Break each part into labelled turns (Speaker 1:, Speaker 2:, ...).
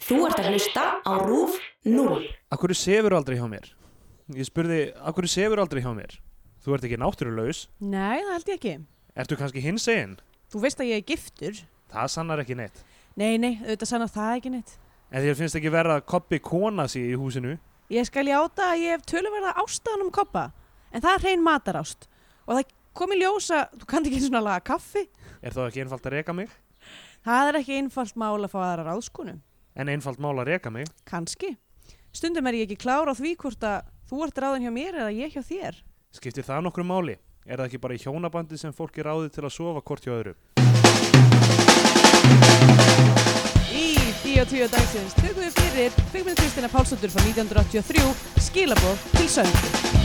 Speaker 1: Þú ert að hlusta á RÚF 0.
Speaker 2: Akkur sefur aldrei hjá mér? Ég spurði, akkur sefur aldrei hjá mér? Þú ert ekki náttúrulaus,
Speaker 3: Nei, það held ég ekki.
Speaker 2: ertu kannski hins einn?
Speaker 3: Þú veist að ég er giftur.
Speaker 2: Það sannar ekki neitt.
Speaker 3: Nei, nei, auðvitað sannar það ekki neitt.
Speaker 2: En þér finnst ekki verða að koppi kona sí í húsinu?
Speaker 3: Ég skal játa að ég hef töluverða ástæðan um koppa, en það er hrein matarást. Og það kom í ljósa, þú kannt ekki einu svona laga kaffi.
Speaker 2: Er þá ekki einfalt að reka mig?
Speaker 3: Það er ekki einfalt mál að fá aðra ráðskonu.
Speaker 2: En einfalt mál að reka mig?
Speaker 3: Kanski. Stundum er ég ekki klár á því hvort að þú ert ráðin hjá mér eða ég hjá þér.
Speaker 2: Skiptir það nokkru máli? Er það ekki bara í hjónabandi sem fólk er ráðið til að sofa hvort hjá öðru?
Speaker 3: Í Díó 10 dagsins tökum við fyrir kvikmynd Kristina Pálsdóttur frá 1983 skilabóð til söngu.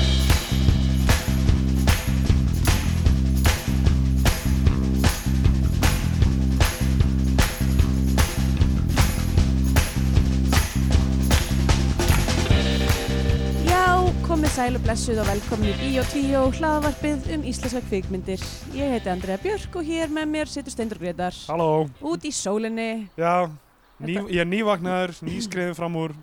Speaker 3: Já, komið sæl og blessuð og velkomin í Bíó 10 hlaðvarpið um íslenska kvikmyndir. Ég heiti Andrea Björk og hér með mér situr Steindur Gretar.
Speaker 4: Halló,
Speaker 3: Út í sólinni,
Speaker 4: já, ný, ég er nývagnar, nýskriðin fram úr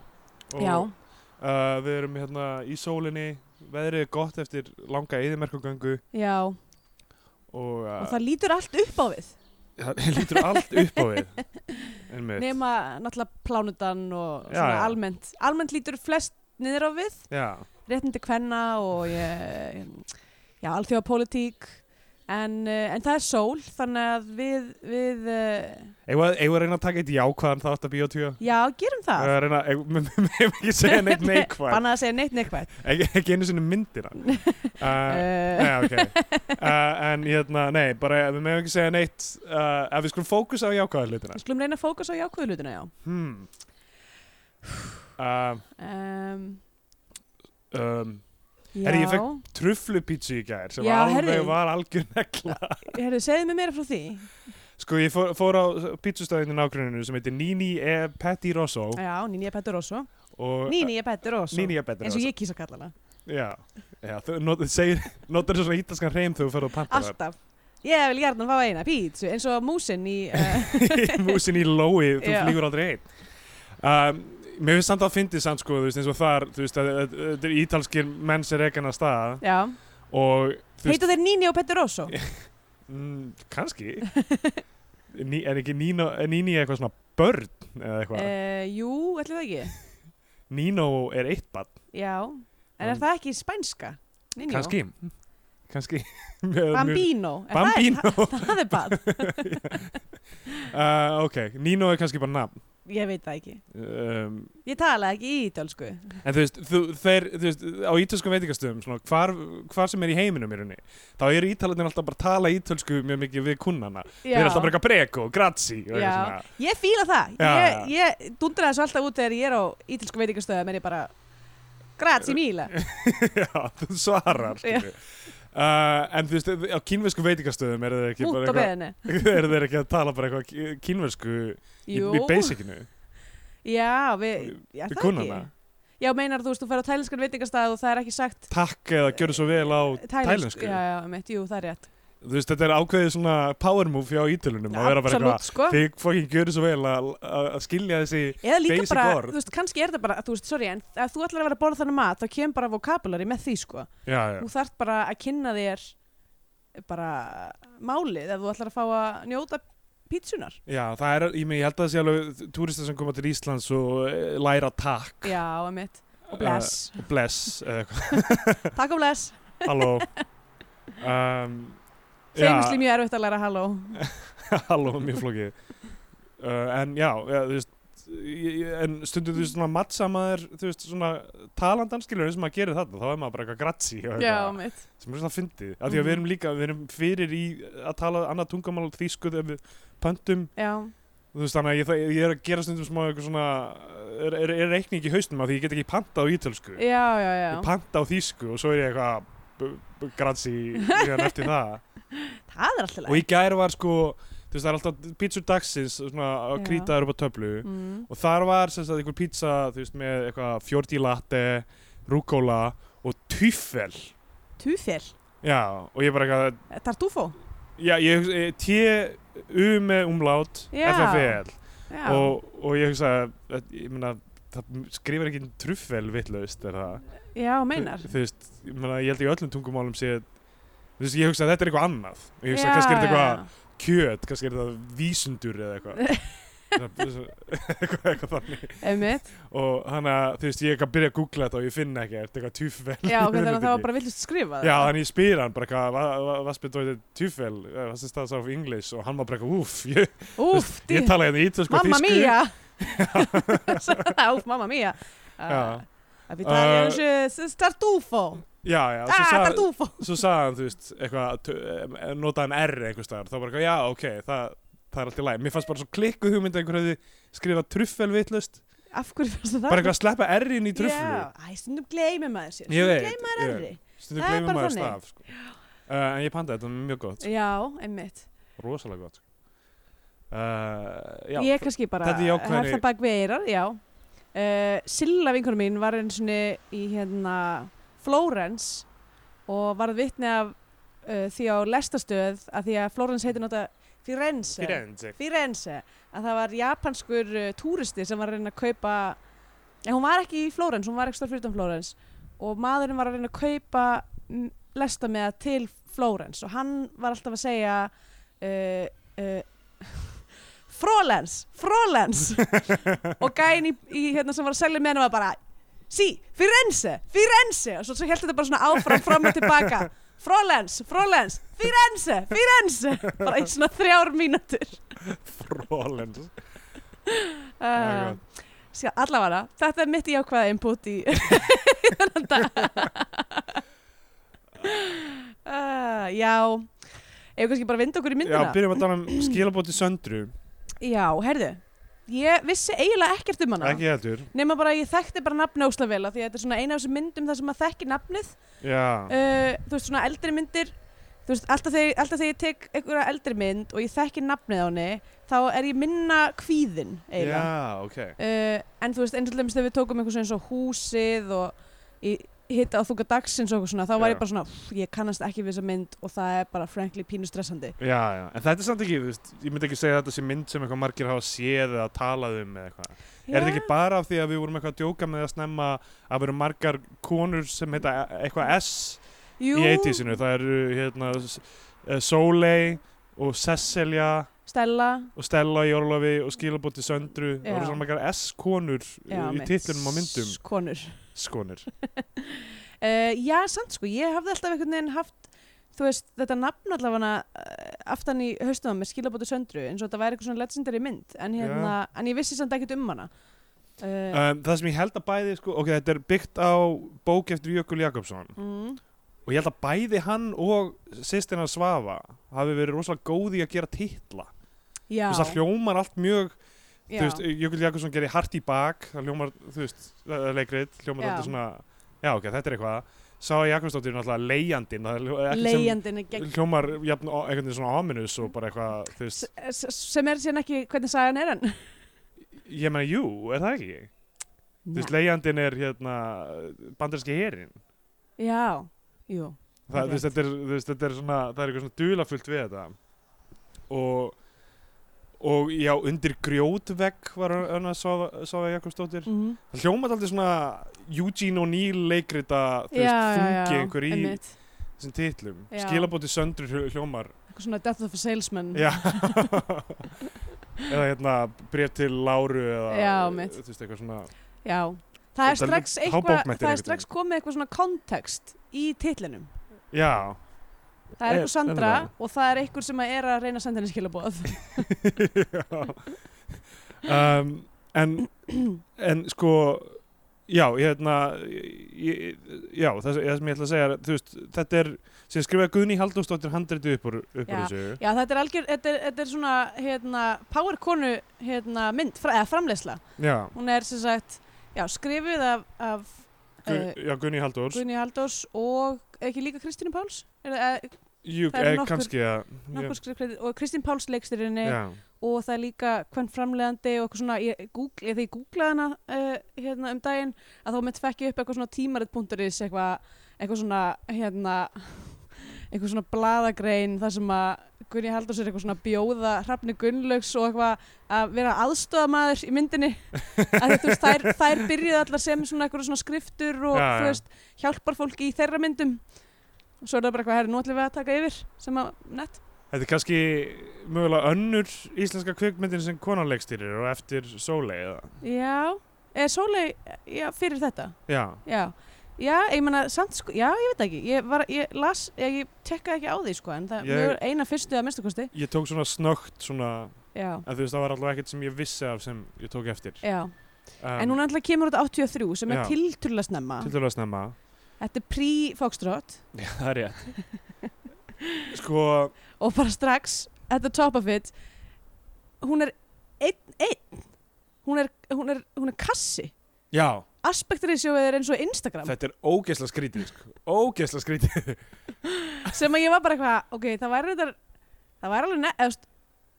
Speaker 4: og
Speaker 3: já.
Speaker 4: uh, við erum hérna í sólinni, veðrið er gott eftir langa eðimerkugöngu
Speaker 3: Já, og
Speaker 4: og, uh,
Speaker 3: það lítur allt upp á við
Speaker 4: það lítur allt upp á við, einmitt,
Speaker 3: nema náttúrulega plánutan og
Speaker 4: Já,
Speaker 3: svona
Speaker 4: já.
Speaker 3: almennt almennt lítur flest niður á við
Speaker 4: já,
Speaker 3: réttindi kvenna og ég, já, alþjóðapólitík en, eh, en það er sól þannig að við, við eh,
Speaker 4: eigum við að reyna að taka eitt jákvæðan þátt að bíotvíða?
Speaker 3: já, gerum
Speaker 4: Uh,
Speaker 3: það
Speaker 4: reyna, eigum- við við meðum ekki segja neitt neikvæð,
Speaker 3: Bannað að segja neitt neikvæð
Speaker 4: ekki, ekki einu sinni myndina. Uh,
Speaker 3: uh,
Speaker 4: Nei, ok, uh, en hérna, nei, bara við meðum ekki segja neitt, uh, ef við skulum fókusa á jákvæðar hlutina.
Speaker 3: Við skulum reyna að fókus á jákvæðu hlutina, já
Speaker 4: Hmm. Uh,
Speaker 3: um,
Speaker 4: um,
Speaker 3: Já,
Speaker 4: Herri, ég fékk- trufflupítsu í gær sem
Speaker 3: Já,
Speaker 4: alveg
Speaker 3: heyrðu.
Speaker 4: var algjör negla
Speaker 3: herðu, segðu mér meira frá því
Speaker 4: sko ég fór, fór á pítsustæðinu nágruninu sem heitir Nini e Patti Rosso
Speaker 3: Já, Níni er Pettur Ósó
Speaker 4: og
Speaker 3: Níni er Pettur Ósó
Speaker 4: Nini e Patti
Speaker 3: eins og
Speaker 4: Rosso
Speaker 3: ég kýsa að kalla hana
Speaker 4: já, já þú not, segir, notar þessu svona ítalskan reym þegar þú ferð á pantar
Speaker 3: Alltaf. Ég vil gjarnan fá eina pítsu eins og músin í... Uh,
Speaker 4: músin í lói, þú
Speaker 3: Já.
Speaker 4: flýgur aldrei einn um, mér finnst samt að fyndið samt sko, þú veist eins og þar þú veist, að- að- að- þetta er ítalskir menn sem rekan að stað
Speaker 3: já.
Speaker 4: og þú veist,
Speaker 3: Heita þeir Nini og Petter Rosso?
Speaker 4: mm, kannski Ní, er ekki Nino, er Nini eitthvað svona börn eða eitthvað
Speaker 3: Uh, jú, ætli það ekki.
Speaker 4: Nino er eitt barn
Speaker 3: Já. En er
Speaker 4: Mm.
Speaker 3: það ekki spænska? Nino?
Speaker 4: kannski kannski mjög- mjög-
Speaker 3: Bambino. Er það-
Speaker 4: Bambino
Speaker 3: Það, það er bad.
Speaker 4: uh, ok, Nino er kannski bara nafn
Speaker 3: Ég veit það ekki.
Speaker 4: um,
Speaker 3: Ég tala ekki í ítalsku.
Speaker 4: en þú veist, þú, þeir, þú veist á ítalskum veitingastöðum svona, hvar, hvar sem er í heiminum í rauninni, þá eru ítalarnir alltaf bara að tala ítalsku mjög mikið við kunnana þeir eru alltaf bara eitthvað preko, grazi og eitthvað
Speaker 3: Já.
Speaker 4: svona.
Speaker 3: Ég fíla það.
Speaker 4: Já,
Speaker 3: Ég,
Speaker 4: já.
Speaker 3: ég dundra þessu alltaf út þegar ég er á ítalsku veitingastöðum en ég bara... Grazie mila.
Speaker 4: já, þú svarar
Speaker 3: Já.
Speaker 4: skilju. Uh, en þú veist, á kínversku veitingastöðum eru þeir ekki,
Speaker 3: Út
Speaker 4: bara
Speaker 3: á beðinni.
Speaker 4: eitthvað, eru þeir ekki að tala bara eitthvað kí- kínversku í,
Speaker 3: Jú.
Speaker 4: í basicinu
Speaker 3: Já, við... Já,
Speaker 4: við
Speaker 3: það
Speaker 4: kunnana
Speaker 3: ekki. Já, meinar þú veist, þú fer á tælinskan veitingastað og það er ekki sagt
Speaker 4: takk eða gjörðu svo vel á tælensku
Speaker 3: Eh, Já, já, mitt, jú, það er rétt
Speaker 4: þú veist þetta er ákveðið svona power move hjá ítölunum að vera bara
Speaker 3: Absolutt,
Speaker 4: eitthvað
Speaker 3: sko
Speaker 4: þið fokkin gjöru svo vel að að- að skilja þessi
Speaker 3: Eða líka
Speaker 4: basic
Speaker 3: bara,
Speaker 4: orð.
Speaker 3: þú veist, kannski er það bara Þú veist, sorry, en ef þú ætlar að vera að borða þannig mat þá kemur bara vocabulary með því, sko
Speaker 4: já, já.
Speaker 3: Þú þarft bara að kynna þér bara málið ef þú ætlar að fá að njóta pítsunar
Speaker 4: já, það er, ég, meina, ég held að það sé alveg túristar sem koma til Íslands og eh, læra takk
Speaker 3: Já, emitt, og bless
Speaker 4: eh, og bless eða eitthvað,
Speaker 3: Takk og bless,
Speaker 4: halló um,
Speaker 3: þeimsli mjög erfitt að læra halló
Speaker 4: halló, mjög flókið uh, en já, já, þú veist ég- ég- en stundum þú veist svona matsamaður þú veist svona talandan skilur eins og maður gerir þetta, þá er maður bara eitthvað gratsi og
Speaker 3: Já, Mhm.
Speaker 4: eitthvað
Speaker 3: emitt,
Speaker 4: sem er svona fyndið, af því að við erum líka við erum fyrir í að tala annað tungumál og þýsku þegar við pöntum
Speaker 3: já,
Speaker 4: þú veist þannig að ég, þa- ég er að gera stundum smá eitthvað svona, er, er, er reikning í haustum af því ég get ekki panta á ítölsku
Speaker 3: já, já, já
Speaker 4: ég panta á þýsku og svo er ég eitthvað gransi hérna eftir það
Speaker 3: Það er alltaf
Speaker 4: og í gær var sko þú veist það er alltaf pítsur dagsins svona að
Speaker 3: Já.
Speaker 4: krýtaður upp á töflu
Speaker 3: mm.
Speaker 4: og þar var sem sagt einhver pítsa þú veist með eitthvað fjórti latte rúkóla og tuffel
Speaker 3: Túfél,
Speaker 4: já og ég bara eitthvað
Speaker 3: tartúfó
Speaker 4: Já, ég hugsa, T-U eh, með umlát
Speaker 3: Já.
Speaker 4: E F-F-E-L
Speaker 3: já,
Speaker 4: og, og ég hugsa að, ég meina, það skrifar ekki truffel vitlaust er það
Speaker 3: já, meinar
Speaker 4: þú veist, ég, meina, ég held í öllum tungumálum sé þú veist, ég hugsa að þetta er eitthvað annað og ég hugsa
Speaker 3: Já,
Speaker 4: kannski er þetta
Speaker 3: já,
Speaker 4: eitthvað kjöt kannski er þetta vísundur eða eitthvað Svona- eitthvað, eitthvað þannig
Speaker 3: já. einmitt,
Speaker 4: og þannig að þú veist, ég er að byrja að googla þetta og ég finn ekki eitthvað tuffel
Speaker 3: já, ok, þannig að það var bara villust skrifað
Speaker 4: Já, þannig ég spyr hann bara hvað, hvað, hvað, hvað spyrir þetta tjúfel, hvað sem staðs á English og hann var bara eitthvað, úf, ég,
Speaker 3: úf,
Speaker 4: ég
Speaker 3: dí-
Speaker 4: tala hérna ítölsku og
Speaker 3: mamma
Speaker 4: þýsku.
Speaker 3: mía úf, mamma mía Ah,
Speaker 4: Já.
Speaker 3: að við tala
Speaker 4: Uh,
Speaker 3: um þessu startúfó
Speaker 4: Já, já,
Speaker 3: ah,
Speaker 4: svo sagði,
Speaker 3: startúfó
Speaker 4: svo sagði hann, þú veist, eitthvað, tu- eh, notaði hann R einhvers staðar, þá bara eitthvað, já, ok, það, það er allt í læg. Mér fannst bara svo klikkuð hugmynd að einhver hefði skrifað truffel vitlaust,
Speaker 3: af hverju fyrst það
Speaker 4: bara eitthvað að sleppa R-in í trufflu.
Speaker 3: Já, æ, stundum gleymir maður sér
Speaker 4: Ég
Speaker 3: stundum
Speaker 4: veit,
Speaker 3: gleymir maður
Speaker 4: ég
Speaker 3: erri
Speaker 4: Stundum
Speaker 3: Það er
Speaker 4: gleymum
Speaker 3: bara
Speaker 4: maður
Speaker 3: þannig.
Speaker 4: staf, sko. Uh, en ég panta þetta, mjög gott,
Speaker 3: já, einmitt
Speaker 4: rosalega gott, sko. Uh, já,
Speaker 3: ég kannski bara
Speaker 4: þetta er jákvæðari-
Speaker 3: hef það bak veirar já uh, Silla vinkonum mín var eins og í hérna Flórens og varð vitni af uh, því á lestastöð að því að Flórens heitir nota Firenze
Speaker 4: Firenze.
Speaker 3: Firenze að það var japanskur uh, túristi sem var að reyna að kaupa en hún var ekki í Flórens, hún var ekki stór fyrir utan Flórens og maðurinn var að reyna að kaupa mm, lesta með til Flórens og hann var alltaf að segja uh, uh, Frólens, Frólens og gæinn í, í hérna sem var að selja með hann var bara Sí, Firenze, Firenze og svo, svo held þetta bara svona áfram, fram og tilbaka Frólens, Frólens, Firenze, Firenze bara í svona þrjár mínútur
Speaker 4: Frólens.
Speaker 3: Eh,
Speaker 4: Það er
Speaker 3: Uh, Sjá, allavega, þetta er mitt jákvæða input í þennan dag uh, Já Ef við kannski bara vinda okkur í myndina
Speaker 4: Já, byrjum að tala um skilabóti söndru
Speaker 3: Já, heyrðu Ég vissi eiginlega ekkert um hana
Speaker 4: Ekki heldur
Speaker 3: Nefna bara að ég þekkti bara nafn ósla vel af Því að þetta er svona eina af þessum myndum þar sem maður þekki nafnið
Speaker 4: Já,
Speaker 3: uh, Þú veist, svona eldri myndir Þú veist, alltaf þegar, alltaf þegar ég tek einhverja eldri mynd og ég þekki nafnið á henni þá er ég minna kvíðin eiginlega
Speaker 4: já ok
Speaker 3: uh, en þú veist eins og til dæmis þegar við tókum eitthvað eins og húsið og í hitta á þunga dagsins og eitthvað svona þá var
Speaker 4: Já.
Speaker 3: ég bara svona, "Pff, ég kannast ekki við þessa mynd og það er bara frankly pínu stressandi
Speaker 4: Já, já, en þetta er samt ekki, þú veist, ég myndi ekki segja að þetta sé mynd sem eitthvað margir hafa séð eða talað um eða eitthvað. Er þetta ekki bara af því að við vorum eitthvað að djóka með að snemma að vera margar konur sem heita e- eitthvað S
Speaker 3: Jú,
Speaker 4: í 80-sinu? Það eru, hérna, S- eh, Sóley og Cecilia
Speaker 3: Stella,
Speaker 4: og Stella í Orlofi og Skilabóti Söndru. Það
Speaker 3: Já.
Speaker 4: voru svona margar S-konur
Speaker 3: já,
Speaker 4: í
Speaker 3: mitt,
Speaker 4: titlunum á myndum.
Speaker 3: konur
Speaker 4: S-konur.
Speaker 3: uh, Já, samt sko, ég hafði alltaf einhvern veginn haft þú veist, þetta nafn allavega uh, aftan í haustum með skilabóti söndru eins og þetta væri eitthvað svona legendary mynd en, hérna, en ég vissi samt ekkert um hana uh,
Speaker 4: Um, það sem ég held að bæði, sko, ok, þetta er byggt á bók eftir Jökul Jakobsson
Speaker 3: mm,
Speaker 4: og ég held að bæði hann og sýstina Svava hafi verið rosalega góði að gera titla. Þú
Speaker 3: Já,
Speaker 4: veist, það hljómar allt mjög,
Speaker 3: já,
Speaker 4: þú veist, Jökul Jakobsson gerir hart í bak, það hljómar, þú veist, það er leikrit, hljómar
Speaker 3: Já.
Speaker 4: þetta svona, já, ok, þetta er eitthvað. Sá að Jakobsdóttir er náttúrulega leigjandinn, það er hljó- ekkert sem
Speaker 3: leigjandinn er gegn
Speaker 4: hljómar jafn, o- einhvern veginn svona ominous og bara eitthvað, þú veist,
Speaker 3: S- s- sem er síðan ekki hvernig sagan er hann
Speaker 4: ég meina, jú, er það ekki? Þú veist, leigjandinn er hérna bandarinski herinn.
Speaker 3: já, jú
Speaker 4: það, þú veist, þetta, er, þú veist, þetta er svona það er eitthvað svona dulafullt við þetta og og já, undir grjótvegg var hann að sofa Jakobsdóttir
Speaker 3: mm -hmm.
Speaker 4: það hljómaði aldrei svona Eugene O'Neill leikrita þú veist, þungi einhver í þessum titlum
Speaker 3: Já. Mm.
Speaker 4: skilabóti söndur hljó- hljómar
Speaker 3: eitthvað svona Death of a Salesman
Speaker 4: já eða hérna bref til Láru eða
Speaker 3: Já, mitt.
Speaker 4: þú veist, eitthvað svona
Speaker 3: Já.
Speaker 4: Þetta
Speaker 3: það er
Speaker 4: er
Speaker 3: strax
Speaker 4: líka
Speaker 3: eitthvað
Speaker 4: hábókmenntir
Speaker 3: það er
Speaker 4: einhvern
Speaker 3: strax komið eitthvað svona kontekst í titlinum
Speaker 4: já,
Speaker 3: það er
Speaker 4: Er-
Speaker 3: eitthvað Sandra
Speaker 4: er það?
Speaker 3: og það er eitthvað sem er að reyna að senda henni skilabóð
Speaker 4: Já. um, en, en sko já, ég hérna ég- já, það, sem- það sem ég ætla að segja er, þú veist, þetta er sem skrifaði Guðný Halldórsdóttir handriti upp úr, upp úr þessu
Speaker 3: já, þetta er algjör þetta er, þetta er svona hérna, power konu hérna, mynd, fra, eða framleysla
Speaker 4: já,
Speaker 3: hún er sem sagt já, skrifuð af, af
Speaker 4: Gu,
Speaker 3: eh,
Speaker 4: já Guðný Halldórs
Speaker 3: Guðni Haldós og ekki líka Kristínu Páls er, það- eh,
Speaker 4: jú,
Speaker 3: það eru
Speaker 4: eh,
Speaker 3: nokkur-
Speaker 4: kannski að
Speaker 3: nokkur
Speaker 4: ég-
Speaker 3: skrifkredit og Kristín Páls leikstyrinni
Speaker 4: já,
Speaker 3: og það er líka hvern framlegandi og eitthvað svona, ég, Google, ég, þegar ég googlaði hana uh, hérna um daginn að þá mitt fekk ég upp eitthvað svona tímarit.is eitthvað, eitthvað svona hérna einhver svona bladagrein þar sem að Gunni Halldórs er eitthvað svona að bjóða hrafni Gunnlaugs og eitthvað að vera aðstofamaður í myndinni að þú veist, þær, þær byrjuðu allar sem svona eitthvað svona skriftur og
Speaker 4: Já, já.
Speaker 3: þú veist, hjálpar fólki í þeirra myndum og svo er það bara eitthvað, herri, nú ætlum við að taka yfir sem að, nett,
Speaker 4: Þetta er kannski mögulega önnur íslenska kvikmyndin sem konan leikstýrir og eftir Sólei eða?
Speaker 3: já eða Sólei, já, fyrir þetta
Speaker 4: Já,
Speaker 3: já, já, ég meina samt, sko, já, ég veit ekki, ég var, ég las ég, ég tekkaði ekki á því, sko, en það
Speaker 4: Ég-
Speaker 3: ég... var eina fyrstu að minnstakosti,
Speaker 4: ég tók svona snögt svona,
Speaker 3: já,
Speaker 4: en þú veist það var allavega ekkert sem ég vissi af sem ég tók eftir.
Speaker 3: já
Speaker 4: Um,
Speaker 3: En hún alltaf kemur út 83 sem
Speaker 4: Já.
Speaker 3: er tilturlega snemma.
Speaker 4: Tiltölulega snemma.
Speaker 3: Þetta er pre-Foxtrot
Speaker 4: Já, það er rétt. sko,
Speaker 3: og bara strax at the top of it hún er einn, einn hún er, hún er, hún er kassi
Speaker 4: já,
Speaker 3: aspektrisjóið er eins og Instagram
Speaker 4: þetta er ógeðsla skrítið, sko. Ógeðsla skrítið.
Speaker 3: sem að ég var bara eitthvað, ok, það væri þetta það væri alveg nefnst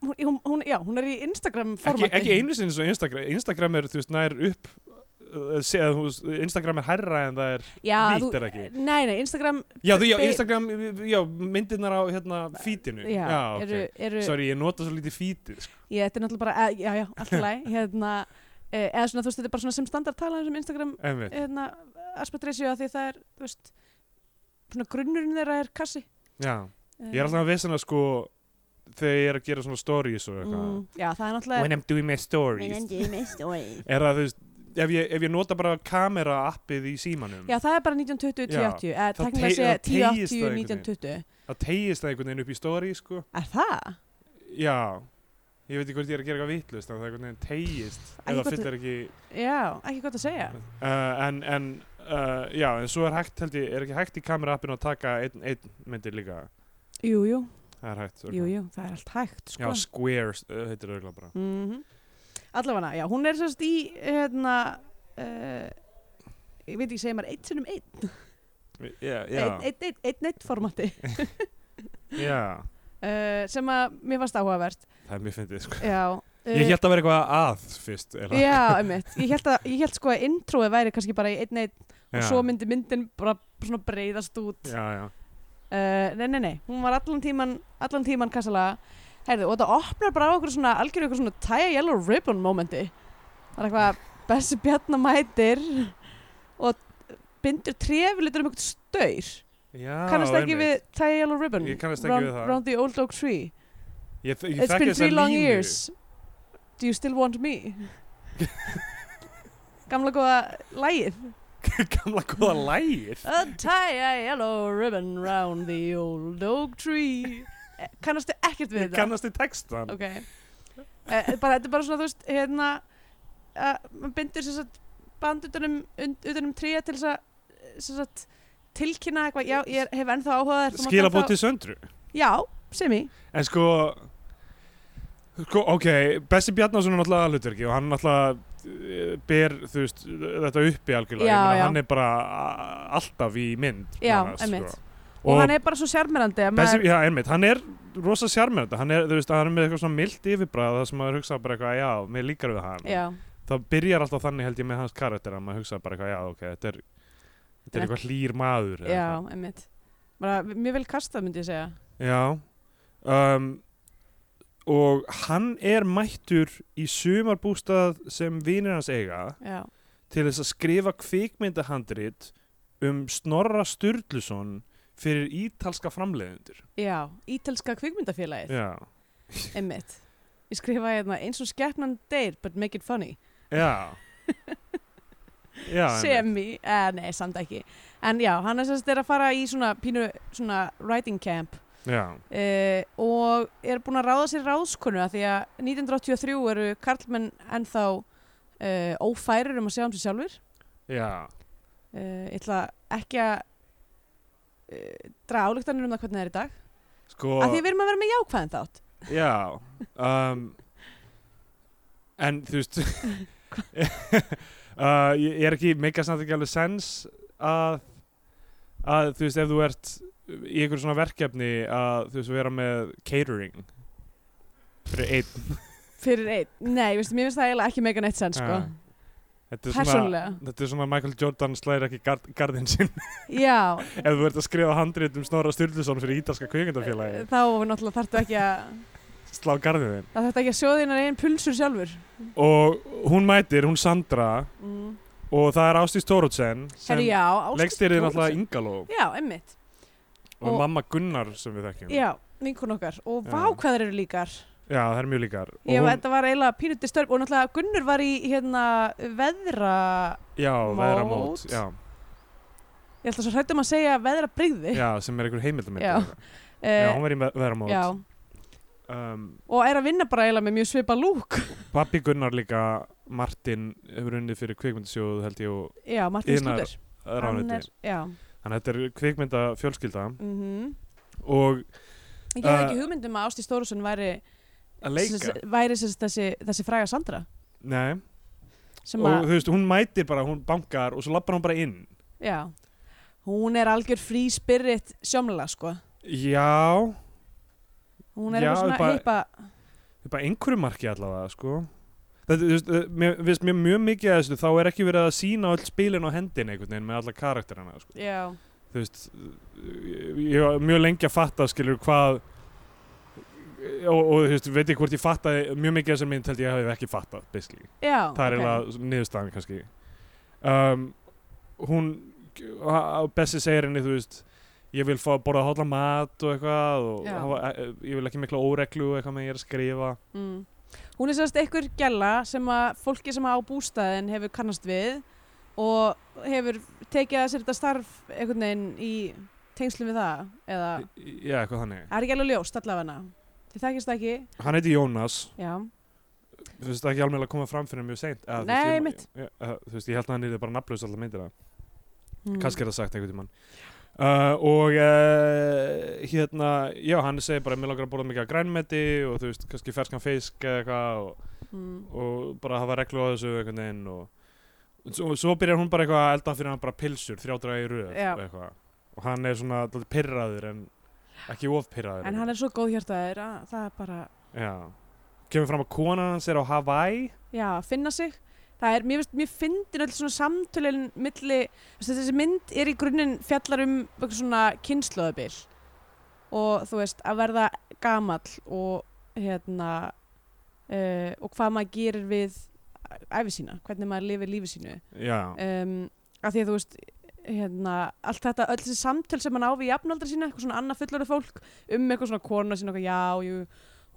Speaker 3: hún, hún, hún, já, hún er í Instagram
Speaker 4: ekki,
Speaker 3: formati
Speaker 4: ekki einu sinni svo Instagram. Instagram er, þú veist, nær upp, uh, sé, að, þú veist, Instagram er herra en það er
Speaker 3: já,
Speaker 4: nýtt,
Speaker 3: þú, eh,
Speaker 4: er ekki?
Speaker 3: nei, nei, Instagram
Speaker 4: Já, þú, já,
Speaker 3: Be-
Speaker 4: Instagram, já, myndirnar á, hérna, feedinu.
Speaker 3: já,
Speaker 4: ok.
Speaker 3: eru, eru,
Speaker 4: Sorry, ég nota svo lítið feedið, sko.
Speaker 3: Ég, þetta er náttúrulega bara, eh, já, já, allt í lagi, hérna, eh, eða svona, þú veist, þetta er bara svona sem standard talaðum sem Instagram,
Speaker 4: Einmitt.
Speaker 3: hérna, aspect ratio að því það er, þú veist, svona grunnurinn þeirra er kassi.
Speaker 4: Já, ég
Speaker 3: Eh.
Speaker 4: er alltaf að vissin að sko þegar ég er að gera svona stories og eitthvað
Speaker 3: mm, Já, það er náttúrulega,
Speaker 4: I'm doing my stories Er það, þú veist, ef ég, ef ég nota bara kamera appið í símanum
Speaker 3: já, það er bara 1920,
Speaker 4: Já,
Speaker 3: 1080, eða
Speaker 4: það
Speaker 3: teknilega
Speaker 4: tey-
Speaker 3: sé
Speaker 4: það teygist
Speaker 3: 1080,
Speaker 4: það einhvern veginn.
Speaker 3: 1920.
Speaker 4: það tegist það einhvern veginn upp í story, sko
Speaker 3: Er það?
Speaker 4: Já, ég veit ekki hvort ég er að gera eitthvað vitlust en það einhvern veginn tegist
Speaker 3: Æ,
Speaker 4: eða
Speaker 3: hvort-
Speaker 4: fyllir ekki
Speaker 3: Já, ekki gott að segja.
Speaker 4: uh, En, en uh, já, en svo er hægt, held ég, er ekki hægt í kamera appinu að taka einn ein myndir líka
Speaker 3: Jú, jú,
Speaker 4: Það er hægt
Speaker 3: jú,
Speaker 4: örugglega.
Speaker 3: jú, það er allt hægt,
Speaker 4: Já,
Speaker 3: sko.
Speaker 4: squares, uh, heitir auðvitað bara
Speaker 3: Mhm. Allavega, já, hún er sérst í, hérna, uh, ég veit ekki segja maður eitt sinnum eitt,
Speaker 4: Já,
Speaker 3: eitt, eitt, eitt, eitt, eitt formati.
Speaker 4: já
Speaker 3: uh, sem að mér fannst áhugavert
Speaker 4: Það er mjög fyndið, sko
Speaker 3: já, uh,
Speaker 4: Ég held að vera eitthvað að fyrst er það?
Speaker 3: já, einmitt. ég held, að, ég held sko að introið væri kannski bara í einn eitt og
Speaker 4: Já.
Speaker 3: svo myndi myndin bara svona breyðast út uh,
Speaker 4: Já, já,
Speaker 3: Eh, nei, nei, nei, hún var allan tíman allan tíman kassalega Heyrðu, og þetta opnar bara á okkur svona algjör okkur svona tæja yellow ribbon momenti það er eitthvað Bessi Bjarnar mætir og bindur trefilitur um eitthvað staur
Speaker 4: já
Speaker 3: kannast ekki við
Speaker 4: einmitt.
Speaker 3: tæja yellow ribbon
Speaker 4: Ég kannast ekki
Speaker 3: round,
Speaker 4: við það.
Speaker 3: round the old oak tree
Speaker 4: Ég, þ- ég
Speaker 3: It's
Speaker 4: þekki
Speaker 3: been
Speaker 4: þessa
Speaker 3: three long
Speaker 4: línu.
Speaker 3: years Do you still want me? Gamla góða lægið
Speaker 4: Gamla góða lægir
Speaker 3: Untie a yellow ribbon round the old oak tree Eh, Kannastu ekkert við
Speaker 4: Ég
Speaker 3: þetta?
Speaker 4: kannast í textan
Speaker 3: Ok Eh, bara, Þetta er bara svona, þú veist, hérna að maður bindur sem sagt um, band utanum, utanum tríja til þess að eh, sem sagt tilkynna eitthvað, já, ég hef ennþá áhugað
Speaker 4: Skilabóti söndru
Speaker 3: Já, sem í
Speaker 4: En sko Sko, ok, Bessi Bjarnason er náttúrulega aðlutverki og hann náttúrulega eh, ber, þú veist, þetta uppi algjörlega,
Speaker 3: Já,
Speaker 4: ég meina
Speaker 3: já.
Speaker 4: hann er bara a- alltaf í mynd
Speaker 3: Já,
Speaker 4: nánast,
Speaker 3: einmitt.
Speaker 4: sko.
Speaker 3: Og, hann er bara svo sjarmerandi að
Speaker 4: Bessi,
Speaker 3: maður-
Speaker 4: já, einmitt, hann er rosa sjarmerandi, hann er, þú veist, hann er með eitthvað svona mildt yfirbræð það sem maður hugsa bara eitthvað, já, mér líkar við hann
Speaker 3: Já,
Speaker 4: það byrjar alltaf þannig held ég með hans karakter að maður hugsa bara eitthvað, já, ok, þetta er þetta er
Speaker 3: Þetta-
Speaker 4: eitthvað hlýr maður eða
Speaker 3: Já, sko. einmitt bara, Mjög vel kastað myndi ég segja
Speaker 4: eitthvað. já um, og hann er mættur í sumarbústað sem vinir hans eiga
Speaker 3: Já,
Speaker 4: til þess að skrifa kvikmyndahandrit um Snorra Sturluson fyrir ítalska framleiðendur
Speaker 3: já ítalska kvikmyndafélagið
Speaker 4: já,
Speaker 3: einmitt Ég skrifaði hérna eins og skepnan deyr but make it funny
Speaker 4: já já, einmitt.
Speaker 3: semi, eh, nei, samt ekki En já, hann er sérst er að fara í svona pínu svona writing camp
Speaker 4: já,
Speaker 3: eh, og er búin að ráða sér ráðskonu að því að 1983 eru karlmenn ennþá eh, ófærir um að sjá um sig sjálfur
Speaker 4: já
Speaker 3: eh, Ég ætla ekki að eh, draga álíktanir um það hvernig það er í dag
Speaker 4: sko
Speaker 3: Af því við erum að vera með jákvæðan þátt
Speaker 4: Já um, En þú veist uh, Ég ég er ekki meika samt ekki alveg sens að, að þú veist ef þú ert í einhverjum svona verkefni að þú veist vera með catering fyrir einn
Speaker 3: Fyrir einn, nei, veistu, mér finnst það eiginlega ekki mega neitt sens, sko.
Speaker 4: Ah. Þetta er svona,
Speaker 3: persónulega
Speaker 4: þetta er svona Michael Jordan slæðir ekki gard, gardinn sinn
Speaker 3: já,
Speaker 4: ef þú ert að skrifa handrið um Snorra Sturluson fyrir ítalska kvikindafélagi
Speaker 3: þá náttúrulega þarftu ekki að
Speaker 4: slá gardinn þinn
Speaker 3: þá þarftu ekki að sjóða þínar einn pulsur sjálfur
Speaker 4: og hún mætir, hún Sandra
Speaker 3: mm.
Speaker 4: og það er Ástís Tórótsen sem
Speaker 3: Herri, já, Ásdís
Speaker 4: leikstýrið
Speaker 3: Thoroddsen.
Speaker 4: náttúrulega Ingaló
Speaker 3: já, emmitt,
Speaker 4: og,
Speaker 3: Og-
Speaker 4: mamma Gunnar sem við þekkjum
Speaker 3: já, vinkun okkar og
Speaker 4: Já.
Speaker 3: vá hvað þær eru líkar
Speaker 4: Já, það er mjög líkar Og
Speaker 3: Ég,
Speaker 4: hún-
Speaker 3: Þetta var eiginlega pínuti störf og náttúrulega Gunnur var í hérna veðra
Speaker 4: Já, veðramót
Speaker 3: Mót.
Speaker 4: já,
Speaker 3: ég ætla svo hrættum að segja veðra brigði
Speaker 4: já, sem er einhver heimildamind
Speaker 3: Já. Eh,
Speaker 4: já, hún var í ve- veðramót
Speaker 3: já,
Speaker 4: um,
Speaker 3: og er að vinna bara eiginlega með mjög svipa lúk
Speaker 4: Pappi Gunnar líka Martin hefur unnið fyrir kvikmyndasjóð held ég og
Speaker 3: Já, Martin
Speaker 4: Iðnaðar-
Speaker 3: Skúter
Speaker 4: ráðuneyti
Speaker 3: Já,
Speaker 4: Þannig að þetta er kvikmynda fjölskylda
Speaker 3: mhm
Speaker 4: og
Speaker 3: Ég
Speaker 4: Uh,
Speaker 3: hafði ekki hugmyndum að Ásti Stórusson væri
Speaker 4: að
Speaker 3: sem sagt- væri sem sagt þessi, þessi fræga Sandra
Speaker 4: Nei,
Speaker 3: sem
Speaker 4: og
Speaker 3: að,
Speaker 4: þú veist, hún mætir bara, hún bankar og svo lappar hún bara inn
Speaker 3: já hún er algjör free spirit sjómlega sko,
Speaker 4: Já,
Speaker 3: hún er
Speaker 4: Já,
Speaker 3: eitthvað svona
Speaker 4: bara-
Speaker 3: heipa,
Speaker 4: Það er bara einhverju marki allavega sko Þetta, þú veist, eh, mér finnst mér mjög mikið að þessu þá er ekki verið að sína öll spilin á hendin einhvern veginn með alla karakterina sko.
Speaker 3: já
Speaker 4: þú veist eh, ég var mjög lengi að fatta skilur hvað eh, og, og þú veist, veit ég hvort ég fatta mjög mikið að þessar mynd held ég að hef ekki fattað basically,
Speaker 3: já,
Speaker 4: það er
Speaker 3: Ah, ok.
Speaker 4: eiginlega niðurstaðan kannski um, hún ha- Bessi segir henni, þú veist ég vil fá að borða hálfa mat og eitthvað og
Speaker 3: Já.
Speaker 4: hafa, eh, ég vil ekki mikla óreglu og eitthvað með ég er að skrifa
Speaker 3: Mm. Hún er sérst einhver gælla sem að fólki sem á bústæðin hefur kannast við og hefur tekið að sér þetta starf einhvern veginn í tengslu við það eða
Speaker 4: já, eitthvað þannig
Speaker 3: það er ekki alveg ljóst allavega þið þekkist það ekki
Speaker 4: hann heiti Jónas
Speaker 3: já,
Speaker 4: þú veist ekki alveg að koma fram fyrir mjög seint eða, þú veist,
Speaker 3: Nei,
Speaker 4: ég-
Speaker 3: mitt.
Speaker 4: ég- eh, þú veist, ég held að hann er bara nafnlaus alltaf myndir það,
Speaker 3: mm.
Speaker 4: kannski er það sagt einhvern tímann uh, og uh, hérna, já, hann segir bara mér langar að borða mikið af grænmeti og þú veist, kannski ferskan fisk eða eitthvað og,
Speaker 3: mm.
Speaker 4: og bara hafa reglu á þessu einhvern veginn og og svo byrjar hún bara eitthvað að elda fyrir hann bara pilsur þrjá draga í röð
Speaker 3: Já.
Speaker 4: og eitthvað. og hann er svona dálítið pirraður en ekki of pirraður
Speaker 3: en hann er svo góð hjartaður að það er bara
Speaker 4: Já. Kemur fram að konan hans er á Hawaii.
Speaker 3: já, að finna sig það er, mér, finnst- mér fyndin öll svona samtölin milli, þessi, þessi mynd er í grunninn fjallar um einhver svona kynnslóðabil og þú veist að verða gamall og hérna uh, og hvað maður gerir við æfi sína, hvernig maður lifir lífi sínu
Speaker 4: Já.
Speaker 3: um, af því að þú veist hérna, allt þetta, öll þessi samtöl sem hann á við jafnaldra sína, eitthvað svona annað fullorðu fólk um eitthvað svona kona sína, eitthvað já jú,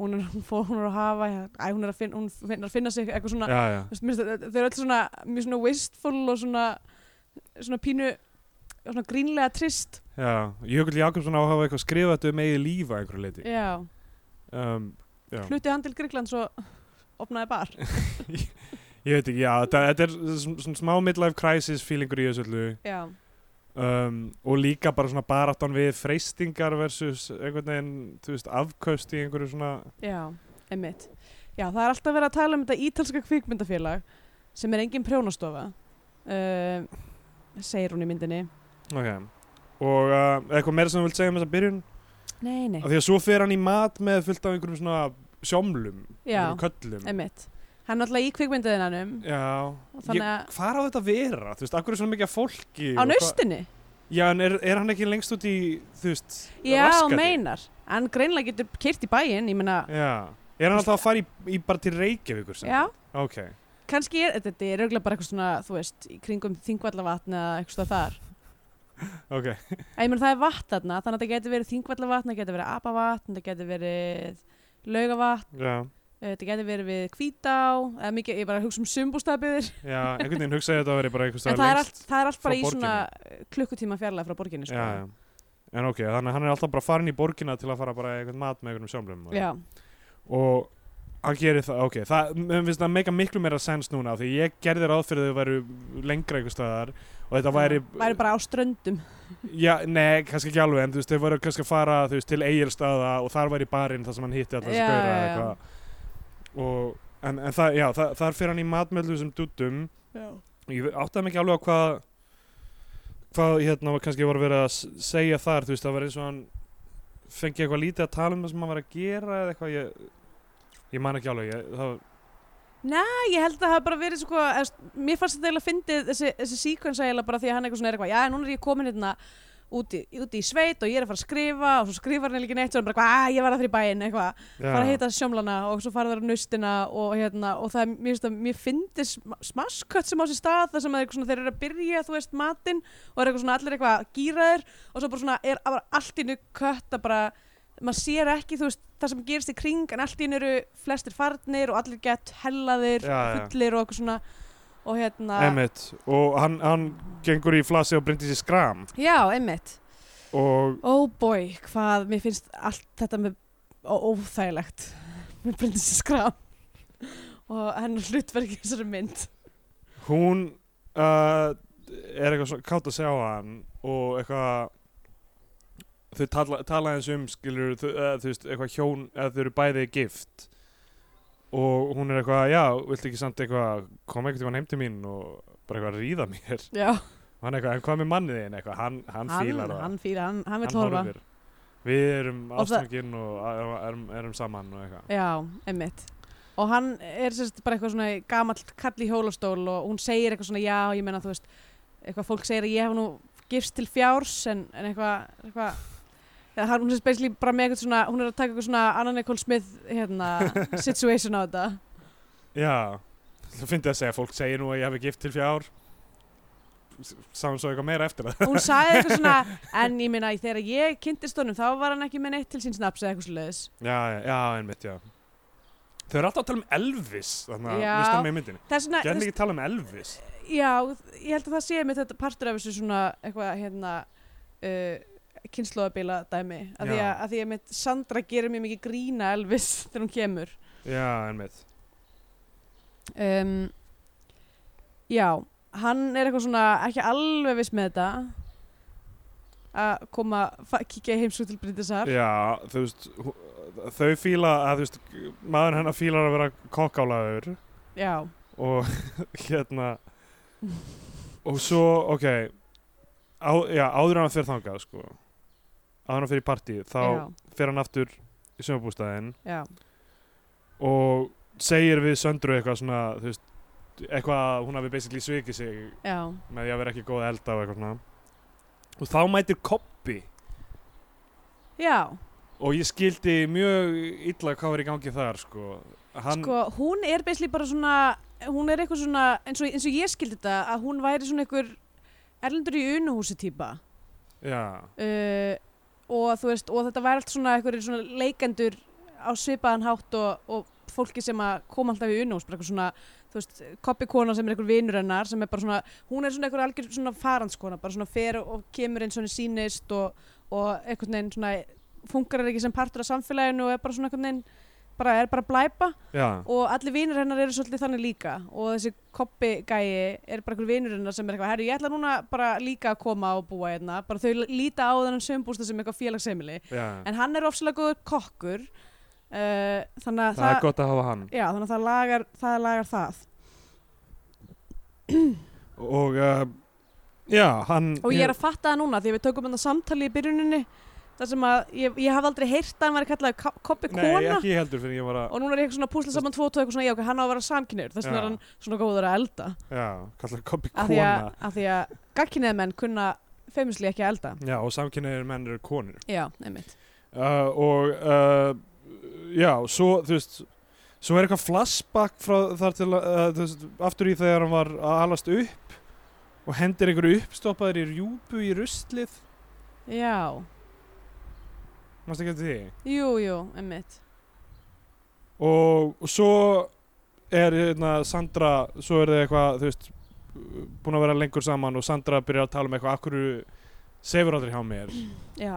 Speaker 3: hún er, hún, fór, hún er að hafa já, æ, hún er að finna, hún finna, finna sig eitthvað svona
Speaker 4: Já, já.
Speaker 3: Þú veist, mér finnst að- þau eru öll svona mjög svona wistful og svona svona pínu svona grínlega trist
Speaker 4: Já, Jökull Jakobsson á að hafa eitthvað skrifað þetta um eigið líf að einhverju leiti.
Speaker 3: já,
Speaker 4: Um, já.
Speaker 3: hluti hann til Gríkland svo opnaði bar
Speaker 4: Ég veit ekki, já, þetta, þetta er sv- svona smá midlife crisis feelingur í þessu öllu
Speaker 3: já,
Speaker 4: um, og líka bara svona baráttan við freystingar versus einhvern veginn, þú veist, afköst í einhverju svona,
Speaker 3: já, emitt já, það er alltaf verið að tala um þetta ítalska kvikmyndafélag sem er engin prjónastofa uh, segir hún í myndinni
Speaker 4: ok. Og uh, eitthvað meira sem þú vilt segja um þessa byrjun?
Speaker 3: nei, nei,
Speaker 4: Af því að svo fer hann í mat með fullt af einhverjum svona sjómlum,
Speaker 3: Já.
Speaker 4: einhverjum köllum.
Speaker 3: emitt hann er náttúrulega í kvikmyndaðinanum
Speaker 4: Já,
Speaker 3: Þannig
Speaker 4: ég,
Speaker 3: að-
Speaker 4: hvað á þetta að vera? Þú veist, akkur er svona mikið af fólki?
Speaker 3: á
Speaker 4: og hvað-
Speaker 3: naustinni
Speaker 4: Já, en er, er hann ekki lengst út í, þú veist,
Speaker 3: já,
Speaker 4: raskati?
Speaker 3: meinar, hann greinlega getur kyrt í bæinn, ég meina
Speaker 4: Já, er hann alltaf að fara í, í bara til Reykjavíkur sem?
Speaker 3: já,
Speaker 4: Ok,
Speaker 3: kannski er, þetta er auðvitað bara eitthvað svona, þú veist, í kringum þingvallavatn eða eitthvað stað þar.
Speaker 4: ok,
Speaker 3: En ég meina það er vatn þarna, þannig að það getur verið þingvallavatn, það getur verið apavatn, það getur verið laugavatn,
Speaker 4: já,
Speaker 3: eh, þetta getur verið við kvítá, eða mikið, ég bara hugsa um sumbústafbyðir.
Speaker 4: já, einhvern veginn hugsaði þetta að vera bara einhvers
Speaker 3: En
Speaker 4: staðar
Speaker 3: það er,
Speaker 4: lengst.
Speaker 3: allt, það er allt bara
Speaker 4: frá
Speaker 3: í svona eh, klukkutíma fjarlæg frá borginni, sko.
Speaker 4: Já, já, en ok, þannig að hann er alltaf bara farin í borgina til að fara bara í einhvern mat með einhvern sjómlum.
Speaker 3: Já,
Speaker 4: Og hann gerir það, ok, það, mér finnst það meika miklu meira sens núna af því ég gerði ráð fyrir þau væru lengra einhvers staðar og þetta væri...
Speaker 3: væri bara á ströndum.
Speaker 4: Já, nei, kannski ekki alveg, en þú veist, þau voru kannski að fara þú veist, til Egilstaða og þar var í barinn þar sem hann hitti alltaf þessi
Speaker 3: Já,
Speaker 4: gauðra
Speaker 3: já,
Speaker 4: eða
Speaker 3: já.
Speaker 4: eitthvað og, en, en það, já, það, þar fyrir hann í matmöldu sem duttum
Speaker 3: Já.
Speaker 4: ég áttaði mig ekki alveg á hvað hvað, hérna, var- kannski voru verið að s- segja þar, þú veist, það var eins og hann fengi eitthvað lítið að tala um það sem hann var að gera eða eitthvað, ég, ég man ekki alveg ég, það,
Speaker 3: Nei, ég held að það hafi bara verið sko, eða, st- mér fannst þetta eiginlega fyndið þessi, þessi sequence eiginlega bara því að hann eitthvað svona er eitthvað, já, núna er ég komin hérna úti, úti í sveit og ég er að fara að skrifa og svo skrifar hann eiginlega ekki neitt og hann bara eitthvað, "Ah, ég var að fyrir bæinn eitthvað, fara að heita sjómlana og svo fara þar á nustina og hérna og það, er, mér finnst það, mér fyndið smaskött sem á sér stað þar sem að eitthvað svona, þeir eru að byrja, þú veist, matinn og er eitthvað svona allir eitthvað gýraðir og svo bara svona er bara allt innu kött að bara maður sér ekki þú veist það sem gerist í kring en allt innu eru flestir farnir og allir gett hellaðir
Speaker 4: Já, já.
Speaker 3: fullir og eitthvað svona og hérna
Speaker 4: Emmett og hann, hann gengur í flasi og brindir sér skram
Speaker 3: já einmitt
Speaker 4: og
Speaker 3: oh boy hvað mér finnst allt þetta með ó, óþægilegt mér brindið sér skram og hennar hlutverki í þessari mynd
Speaker 4: hún uh, er eitthvað svona kátt að sjá hann og eitthvað þau tala, tala eins um skilur þau, uh, þú veist eitthvað hjón eða þau eru bæði gift og hún er eitthvað já, viltu ekki samt eitthvað koma eitthvað heim til mín og bara eitthvað ríða mér
Speaker 3: já
Speaker 4: og hann eitthvað, en hvað með mannið þinn eitthvað hann, hann, fílar það
Speaker 3: hann fílar hann, hann vil horfa
Speaker 4: horfir. við erum
Speaker 3: Og það-
Speaker 4: ástangin og a- erum, erum saman og eitthvað
Speaker 3: Já, einmitt Og hann er sérst bara eitthvað svona gamall kall í hjólastól og hún segir eitthvað svona já, ég meina þú veist, eitthvað fólk segir að ég hef nú gifst til fjárs en, en eitthvað, eitthvað eða hann, hún er spesli bara með eitthvað svona, hún er að taka eitthvað svona Anna Nicole Smith hérna, situation á þetta
Speaker 4: Já, það finnst ég að segja fólk segir nú að ég hafi gift til fjár Sáum svo eitthvað meira eftir það
Speaker 3: Hún sagði eitthvað svona, en ég meina þegar ég kynntist honum þá var hann ekki með neitt til sín snaps eða eitthvað svoleiðis
Speaker 4: Já, já, já, einmitt, já Þau eru alltaf að tala um Elvis Þannig að
Speaker 3: Já.
Speaker 4: við stemma í myndinni
Speaker 3: Það er svona,
Speaker 4: Gerðum ekki að tala um Elvis
Speaker 3: Já, ég held að það sé mitt þetta partur af þessu svona eitthvað hérna uh, kynnslóðabíla dæmi að því
Speaker 4: Já.
Speaker 3: að, að því að mitt Sandra gerir mjög mikið grína Elvis þegar hún kemur
Speaker 4: Já, einmitt
Speaker 3: um, Já, hann er eitthvað svona ekki alveg viss með þetta að koma fa- kíkja í heimsug til Bryndisar
Speaker 4: Já, þú veist hú- Þau fíla, að þú veist Maður hennar fílar að vera kokkálaður
Speaker 3: Já,
Speaker 4: og hérna og svo, ok á, já, áður en hann fyrir þangað sko áður en hann fyrir í partíð þá
Speaker 3: Já.
Speaker 4: fer hann aftur í sömabústæðin
Speaker 3: já,
Speaker 4: og segir við söndru eitthvað svona þú veist, eitthvað að hún hafi basically svikið sig
Speaker 3: já
Speaker 4: með því að vera ekki góð að elda og eitthvað svona og þá mætir koppi
Speaker 3: Já,
Speaker 4: og ég skildi mjög illa hvað var í gangi þar sko hann,
Speaker 3: sko, hún er beisli bara svona hún er eitthvað svona, eins og, eins og ég skildi þetta að hún væri svona einhver erlendur í unuhúsi típa
Speaker 4: já,
Speaker 3: uh, og, þú veist, og þetta væri allt svona, einhverjir svona leikendur á svipaðan hátt og, og fólki sem að koma alltaf í unnús bara eitthvað svona, þú veist, koppikona sem er einhver vinur hennar sem er bara svona, hún er svona einhver algjör svona farandskona, bara svona fer og, og kemur eins og henni sýnist og, og einhvern veginn svona, funkarar ekki sem partur af samfélaginu og er bara svona einhvern veginn bara er bara að blæpa
Speaker 4: já,
Speaker 3: og allir vinur hennar eru svolítið þannig líka og þessi koppi gæi er bara einhver vinur hennar sem er eitthvað, herru ég ætla núna bara líka að koma og búa hérna, bara þau líta á þennan sömbústa sem eitthvað félagsheimili
Speaker 4: já.
Speaker 3: en hann er ofsalega góður kokkur uh, þannig að
Speaker 4: það er gott að hafa hann
Speaker 3: já, þannig að það lagar það, lagar það.
Speaker 4: og uh, já, hann
Speaker 3: og ég er að fatta það núna því að við tökum þetta samtali í byrjuninni þar sem að ég, ég haf aldrei heyrt að hann var kallað koppi
Speaker 4: Nei,
Speaker 3: kona
Speaker 4: ekki ég heldur fyrir ég var að
Speaker 3: og núna er ég eitthvað svona að púsla saman tvo og tvo eitthvað svona, já ok, hann á að vera samkynir þess vegna
Speaker 4: Já.
Speaker 3: er hann svona góður að elda
Speaker 4: Já, kallar koppi
Speaker 3: að því
Speaker 4: kona
Speaker 3: að, að, því að gagkinnið menn kunna feimisli ekki að elda
Speaker 4: Já, og samkynniðir menn eru konur
Speaker 3: já, einmitt
Speaker 4: uh, Og uh, Já, svo, þú veist Svo er eitthvað flashback frá þar til að uh, þú veist, Aftur í þegar hann var að alast upp Og hendir einhverju uppstoppaður í rjúpu í ruslið
Speaker 3: já,
Speaker 4: Mást ekki eftir því
Speaker 3: jú, jú, einmitt
Speaker 4: og, og svo er hérna Sandra svo er þið eitthvað þú veist búin að vera lengur saman og Sandra byrjar að tala um eitthvað akkur sefur aldrei hjá mér
Speaker 3: já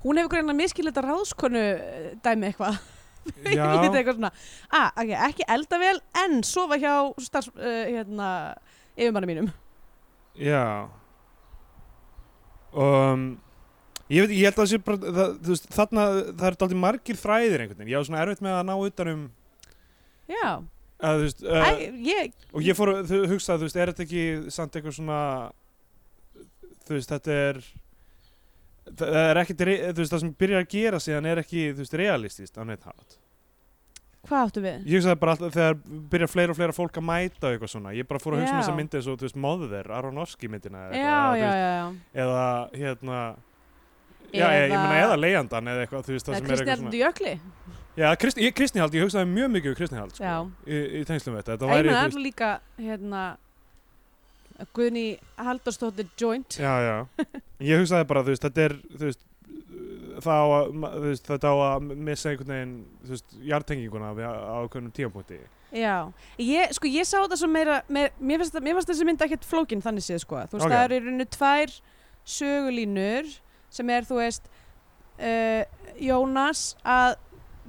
Speaker 3: hún hefur greina miskilita ráðskonu eh, dæmi eitthvað Ég
Speaker 4: Já.
Speaker 3: veit eitthvað svona, ah, okay, ekki elda vel en sofa hjá starf, uh, hérna, yfirmanni mínum
Speaker 4: já um, ég veit, ég held að það sé bara það, þú veist, þarna, það er aldrei margir þræðir einhvern veginn, ég á svona erfitt með að ná utan um
Speaker 3: já,
Speaker 4: að, þú veist,
Speaker 3: Æ,
Speaker 4: uh,
Speaker 3: ég,
Speaker 4: og ég fór að þau- hugsa, þú veist, er þetta ekki samt eitthvað svona þú veist, þetta er það er ekkit, re- þú veist, það sem byrjar að gera síðan er ekki, þú veist, realistist á neitt hát
Speaker 3: Hvað áttu við?
Speaker 4: Ég hugsaði bara alltaf þegar byrja fleira og fleira fólk að mæta og eitthvað svona, ég bara fór að hugsa um
Speaker 3: Já.
Speaker 4: þessa myndi eins og, þú veist, Mother, Aronofsky myndina eða
Speaker 3: Já,
Speaker 4: eitthvað,
Speaker 3: já,
Speaker 4: eða,
Speaker 3: já, já.
Speaker 4: þú veist, eða, hérna, já, eða, ég meina, eða leiðandan eða eitthvað, þú veist, það
Speaker 3: Það
Speaker 4: sem er
Speaker 3: Kristi
Speaker 4: eitthvað
Speaker 3: Erlendu
Speaker 4: svona.
Speaker 3: Jökli.
Speaker 4: Já, krist, ég, kristnihald, ég hugsaði mjög mikið um kristnihald, sko,
Speaker 3: Já.
Speaker 4: í, í tengslum við þetta,
Speaker 3: Æ,
Speaker 4: þetta
Speaker 3: Ég
Speaker 4: væri,
Speaker 3: meina
Speaker 4: þú
Speaker 3: alltaf líka, hérna, Guðni Halldórsdóttir Joint.
Speaker 4: já, já, ég hugsaði bara, þú veist, þetta er, þú veist, það á að, ma- þú veist, þetta á að missa einhvern veginn, þú veist, jartenginguna á ákveðnum tímapunkti.
Speaker 3: Já, ég, sko, ég sá þetta svo meira, meira mér, finnst, það- mér finnst þessi mynd ekkert flókin þannig séð, sko. Þú veist,
Speaker 4: Ok.
Speaker 3: það eru í rauninu tvær sögulínur sem er, þú veist, uh, Jónas að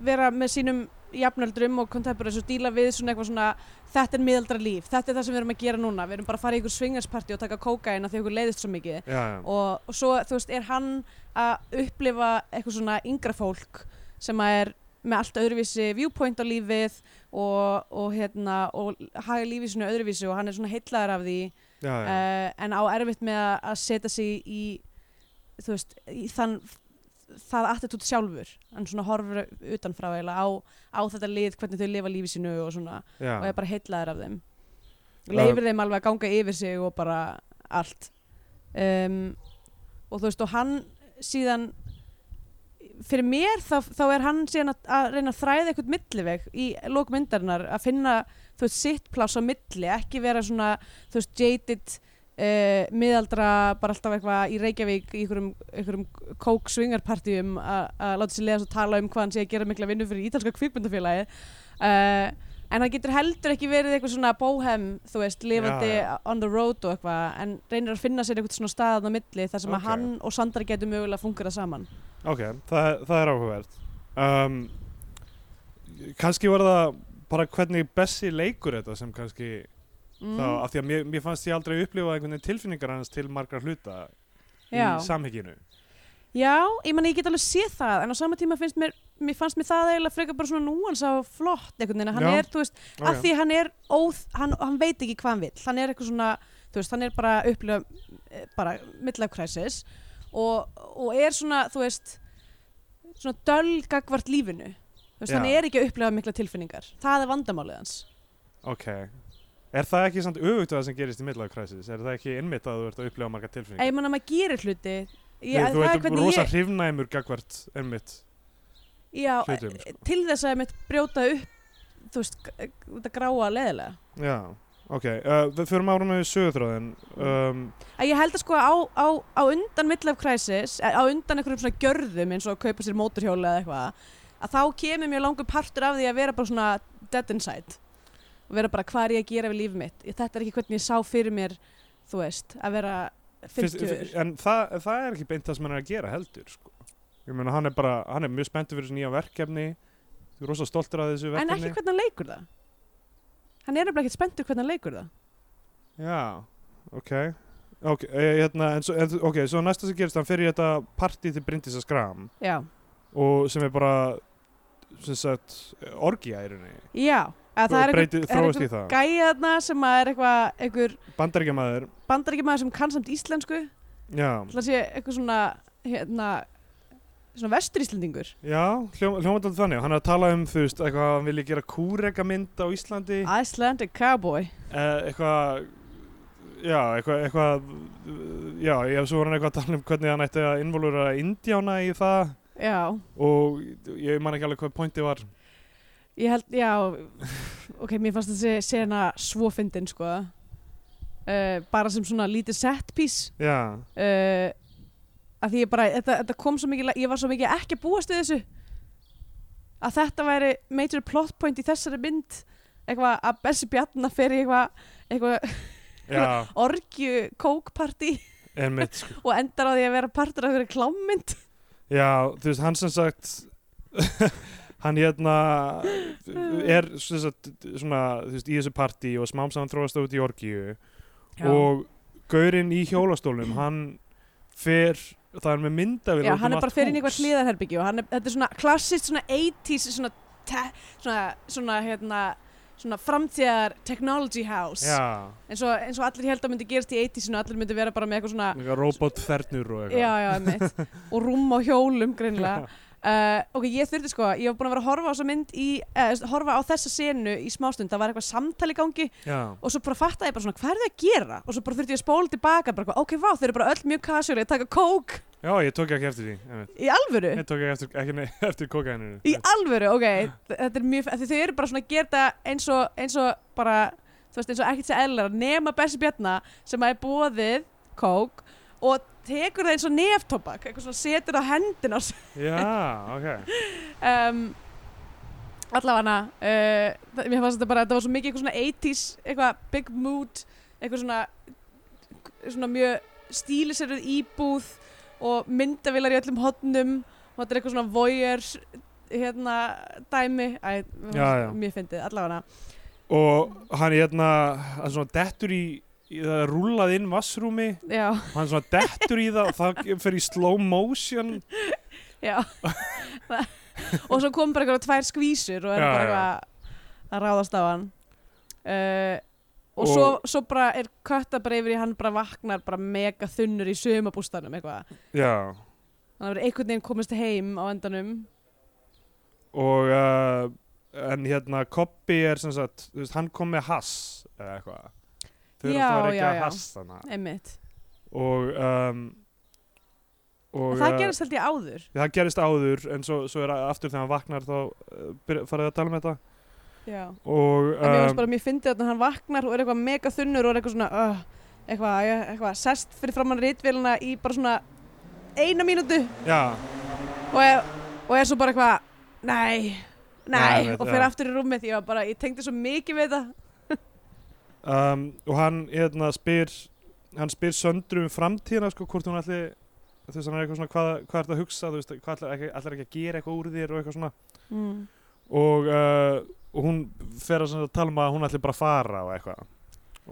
Speaker 3: vera með sínum jafnöldrum og contemporaries og díla við svona eitthvað svona þetta er miðaldra líf, þetta er það sem við erum að gera núna við erum bara að fara í ykkur swingersparti og taka kókaina því okkur leiðist svo mikið
Speaker 4: Já, já,
Speaker 3: og, og svo þú veist er hann að upplifa eitthvað svona yngra fólk sem að er með allt öðruvísi viewpoint á lífið og, og hérna og haga lífið svona öðruvísi og hann er svona heitlaður af því
Speaker 4: já, já.
Speaker 3: uh, en á erfitt með að að setja sig í þú veist, í þann það attitút sjálfur hann svona horfur utanfrá eiginlega á, á þetta lið, hvernig þau lifa lífið sínu og svona,
Speaker 4: já.
Speaker 3: og er bara heitlaður af þeim
Speaker 4: Já.
Speaker 3: leifir þeim alveg að ganga yfir sig og bara allt um, og þú veist og hann síðan fyrir mér þá, þá er hann síðan að, að reyna að þræða eitthvað milliveg í lókmyndarinnar að finna þú veist sitt pláss á milli ekki vera svona þú veist jaded Uh, miðaldra bara alltaf eitthvað í Reykjavík í einhverjum, einhverjum kók-svingarpartíum að láta sér leiðast og tala um hvað hann sé að gera mikla vinnu fyrir ítalska kvikmyndafélagi uh, en það getur heldur ekki verið eitthvað svona bóhem þú veist, lifandi
Speaker 4: Já,
Speaker 3: on the road og eitthvað en reynir að finna sér eitthvað svona staðan á milli þar sem
Speaker 4: Ok.
Speaker 3: að hann og Sandra getur mögulega fungerað saman
Speaker 4: Ok, það, það er áhugavert um, Kanski var það bara hvernig Bessi leikur þetta sem kannski
Speaker 3: mm.
Speaker 4: þá, af því að mér, mér fannst ég aldrei upplifa einhvern veginn tilfinningar hans til margra hluta
Speaker 3: Já.
Speaker 4: í samhenginu
Speaker 3: já, ég man ég get alveg séð það en á sama tíma finnst mér, mér fannst mér það eiginlega frekar bara svona núans á flott einhvern veginn, að hann
Speaker 4: Já.
Speaker 3: er, þú veist, af því hann er óð, hann, hann veit ekki hvað hann vill hann er eitthvað svona, þú veist, hann er bara að upplifa, eh, bara midlæfkræsis og, og er svona, þú veist svona dölgagvart lífinu þú veist,
Speaker 4: Já.
Speaker 3: hann er ekki að upplifa mikla tilfinningar það er vandamálið hans
Speaker 4: Ok Er það ekki samt öfugt að það sem gerist í middlagkræsis? Er það ekki innmitt að þú ert að upplifa marga
Speaker 3: Ef
Speaker 4: tilfinningar?
Speaker 3: ég man að maður gerir hluti ég,
Speaker 4: Nei, þú
Speaker 3: það er
Speaker 4: ert
Speaker 3: hvernig
Speaker 4: rosa
Speaker 3: ég
Speaker 4: hrifnæmur gagvart einmitt
Speaker 3: já,
Speaker 4: hlutum sko.
Speaker 3: til þess að ég mitt brjóta upp þú veist, g- þetta gráa leðilega
Speaker 4: Já, ok uh, Við förum árum með sögutráðin
Speaker 3: Mm.
Speaker 4: um,
Speaker 3: að ég held að sko á, á, á undan midlife crisis, eh, á undan einhverjum svona gjörðum eins og að kaupa sér móturhjóli eða eitthvað að þá kemur mjög langur partur af því að vera bara svona dead inside og vera bara hvað er ég að gera við líf mitt Ég- þetta er ekki hvernig ég sá fyrir mér þú veist, að vera
Speaker 4: Fyrst-
Speaker 3: 50
Speaker 4: En það, það er ekki beint það sem hann er að gera heldur sko. Ég meina hann er bara, hann er mjög spenntur fyrir þessu nýja verkefni Þú er rosa stoltur af þessu
Speaker 3: en
Speaker 4: verkefni
Speaker 3: ekki hvernig hann leikur það hann er nefnilega ekkert spenntur hvernig hann leikur það
Speaker 4: Já, ok Ok, e, hérna, en, svo- en, ok, svo næsta sem gerist hann fyrir í þetta partí til Bryndís að skram
Speaker 3: já,
Speaker 4: og sem er bara sem sagt, orgía í rauninni
Speaker 3: já að það er
Speaker 4: Breyti-
Speaker 3: það er
Speaker 4: þróast í það.
Speaker 3: gæjaðna sem að er eitthvað einhver
Speaker 4: Bandaríkjamaður,
Speaker 3: bandaríkjamaður sem kann samt íslensku
Speaker 4: já
Speaker 3: Það sé eitthvað svona hérna svona vesturíslendingur
Speaker 4: Já, hljó, hljómaðan þannig, hann er að tala um þú veist, eitthvað að hann vilji gera kúrekamynd á Íslandi
Speaker 3: Icelandic cowboy
Speaker 4: Eh, eitthvað já, eitthvað, eitthvað já, ég svo var hann eitthvað að tala um hvernig hann ætti að involvera indjána í það
Speaker 3: Já,
Speaker 4: og ég man ekki alveg hvað pointi var
Speaker 3: ég held, já ok, mér fannst þessi sena svo fyndin sko uh, bara sem svona lítið set piece
Speaker 4: já,
Speaker 3: uh, að því ég bara þetta, þetta kom svo mikið, ég var svo mikið ekki að búast við þessu að þetta væri major plot point í þessari mynd eitthvað að Bessi Bjarna fer í eitthvað eitthvað
Speaker 4: já,
Speaker 3: orgju kókparti
Speaker 4: einmitt sko.
Speaker 3: og endar á því að vera partur af hverju klámynd
Speaker 4: já, þú veist, hann sem sagt hann hérna er sem sagt, svona, þú veist, í þessu partí og smám saman þróast það út í orgíu og gaurinn í hjólastólum hann fer, það er með myndavél
Speaker 3: Já,
Speaker 4: út um
Speaker 3: hann er
Speaker 4: allt
Speaker 3: bara fyrir inn í
Speaker 4: hús.
Speaker 3: eitthvað hliðarherbyggi og hann er, þetta er svona klassist svona 80s svona, te, svona, svona, hérna, svona framtíðar technology house
Speaker 4: já,
Speaker 3: eins og, eins og allir held að myndi gerast í 80s og allir myndi vera bara með eitthvað svona
Speaker 4: eitthvað robotþernur og
Speaker 3: já,
Speaker 4: eitthvað
Speaker 3: já, einmitt, og rúm á hjólum greinlega Uh, ok, ég þurfti sko, ég var búin að vera að horfa á þessa mynd í, uh, horfa á þessa senu í smástund, það var eitthvað samtali í gangi
Speaker 4: Já.
Speaker 3: og svo bara fattaði ég bara svona, hvað er það að gera? Og svo bara þurfti ég að spóla tilbaka, bara ok, vá, þau eru bara öll mjög casual, ég taka kók
Speaker 4: Já, ég tók ekki eftir því. einmitt.
Speaker 3: í alvöru,
Speaker 4: Ég tók ekki eftir, ekki ne- eftir kokaininu.
Speaker 3: í alvöru, ok, þetta er mjög, af því þau eru bara svona að gera þetta eins og, eins og bara, þú veist, eins og ekkert sér eðlar, nema Bessi Bjarna sem að er bóðið kók og tekur það eins og neftobak, eitthvað svona setur það á hendin á sér.
Speaker 4: Já, ok.
Speaker 3: um, allavega uh, það- mér fannst þetta bara, þetta var svo mikið eitthvað svona 80s, eitthvað big mood eitthvað svona svona mjög stíliserið íbúð og myndavilar í öllum hodnum og þetta er eitthvað svona voyeur hérna dæmi Æ, mér
Speaker 4: Já,
Speaker 3: fannst
Speaker 4: já.
Speaker 3: mjög fyndið, allavega
Speaker 4: Og hann hérna, hann svona dettur í, í það er rúllað inn vassrúmi,
Speaker 3: já,
Speaker 4: hann svona dettur í það, það fer í slow motion.
Speaker 3: já og svo kom bara eitthvað tvær skvísur og er
Speaker 4: Já,
Speaker 3: bara
Speaker 4: já.
Speaker 3: eitthvað að ráðast á hann uh, og,
Speaker 4: Og-
Speaker 3: svo, svo bara er kötta bara yfir í hann bara vaknar bara mega þunnur í sömabústanum eitthvað
Speaker 4: Já.
Speaker 3: þannig að verið einhvern veginn komist heim á endanum
Speaker 4: Og, uh, en hérna, Koppi er sem sagt, þú veist, hann kom með hass eða eitthvað. Þau eru
Speaker 3: Já,
Speaker 4: alltaf að
Speaker 3: já, já.
Speaker 4: reykja hass þannig.
Speaker 3: einmitt
Speaker 4: og, um, og
Speaker 3: og það
Speaker 4: uh,
Speaker 3: gerist held ég áður
Speaker 4: já, það gerist áður en svo, svo er aftur þegar hann vaknar þá uh, byrja- farið að tala um þetta
Speaker 3: já
Speaker 4: og
Speaker 3: en mér varst
Speaker 4: um,
Speaker 3: bara mjög fyndið að hann vaknar og er eitthvað mega þunnur og er eitthvað svona uh, eitthvað, ég- eitthvað sest fyrir framann rítvélina í bara svona eina mínútu
Speaker 4: já,
Speaker 3: og er, og er svo bara eitthvað nei,
Speaker 4: Nei,
Speaker 3: nei,
Speaker 4: einmitt,
Speaker 3: og fyrir
Speaker 4: já.
Speaker 3: aftur í rúmið ég var bara, ég tengdi svo mikið við það
Speaker 4: um, og hann hérna, spyr hann spyr söndru um framtíðina sko, hvort hún ætli þú veist hann er eitthvað svona hvað, hvað er að hugsa þú veist hvað ætlar ekki, ætlar ekki að gera eitthvað úr þér og eitthvað svona
Speaker 3: mm.
Speaker 4: og, uh, og hún fer að sem sagt tala um að hún ætli bara að fara og eitthvað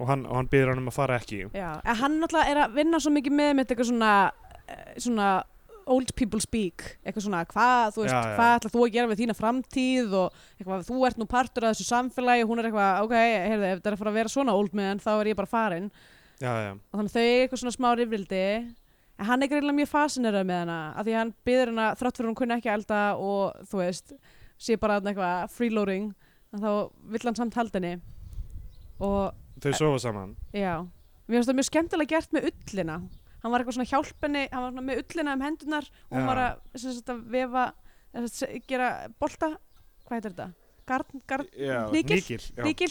Speaker 4: og hann, og hann byrður hann um að fara ekki
Speaker 3: já, en hann náttúrulega er að vinna svo mikið með mitt eitthvað svona eh, svona old people speak eitthvað svona, hvað, þú veist,
Speaker 4: Já, já.
Speaker 3: hvað ætlar þú að gera við þína framtíð og eitthvað, þú ert nú partur af þessu samfélagi og hún er eitthvað, ok, heyrðu, ef þetta er að fara að vera svona old man þá er ég bara farin
Speaker 4: já, já,
Speaker 3: og þannig þau eiga eitthvað svona smá rifrildi en hann er greinlega mjög fasinerað með hana af því að hann byður hana þrátt fyrir að hún kunni ekki að elda og þú veist, sé bara þarna eitthvað freeloading, en þá vill hann samt halda henni og
Speaker 4: þau sofa saman
Speaker 3: já, mér finnst það mjög skemmtilega gert með ullina hann var eitthvað svona hjálpenni, hann var svona með ullina um hendunar og hún
Speaker 4: Já.
Speaker 3: var að, sem sagt, að vefa sem sagt, gera bolta hvað heitir þetta? Garn, garn,
Speaker 4: já,
Speaker 3: Hnykil?
Speaker 4: já.
Speaker 3: líkil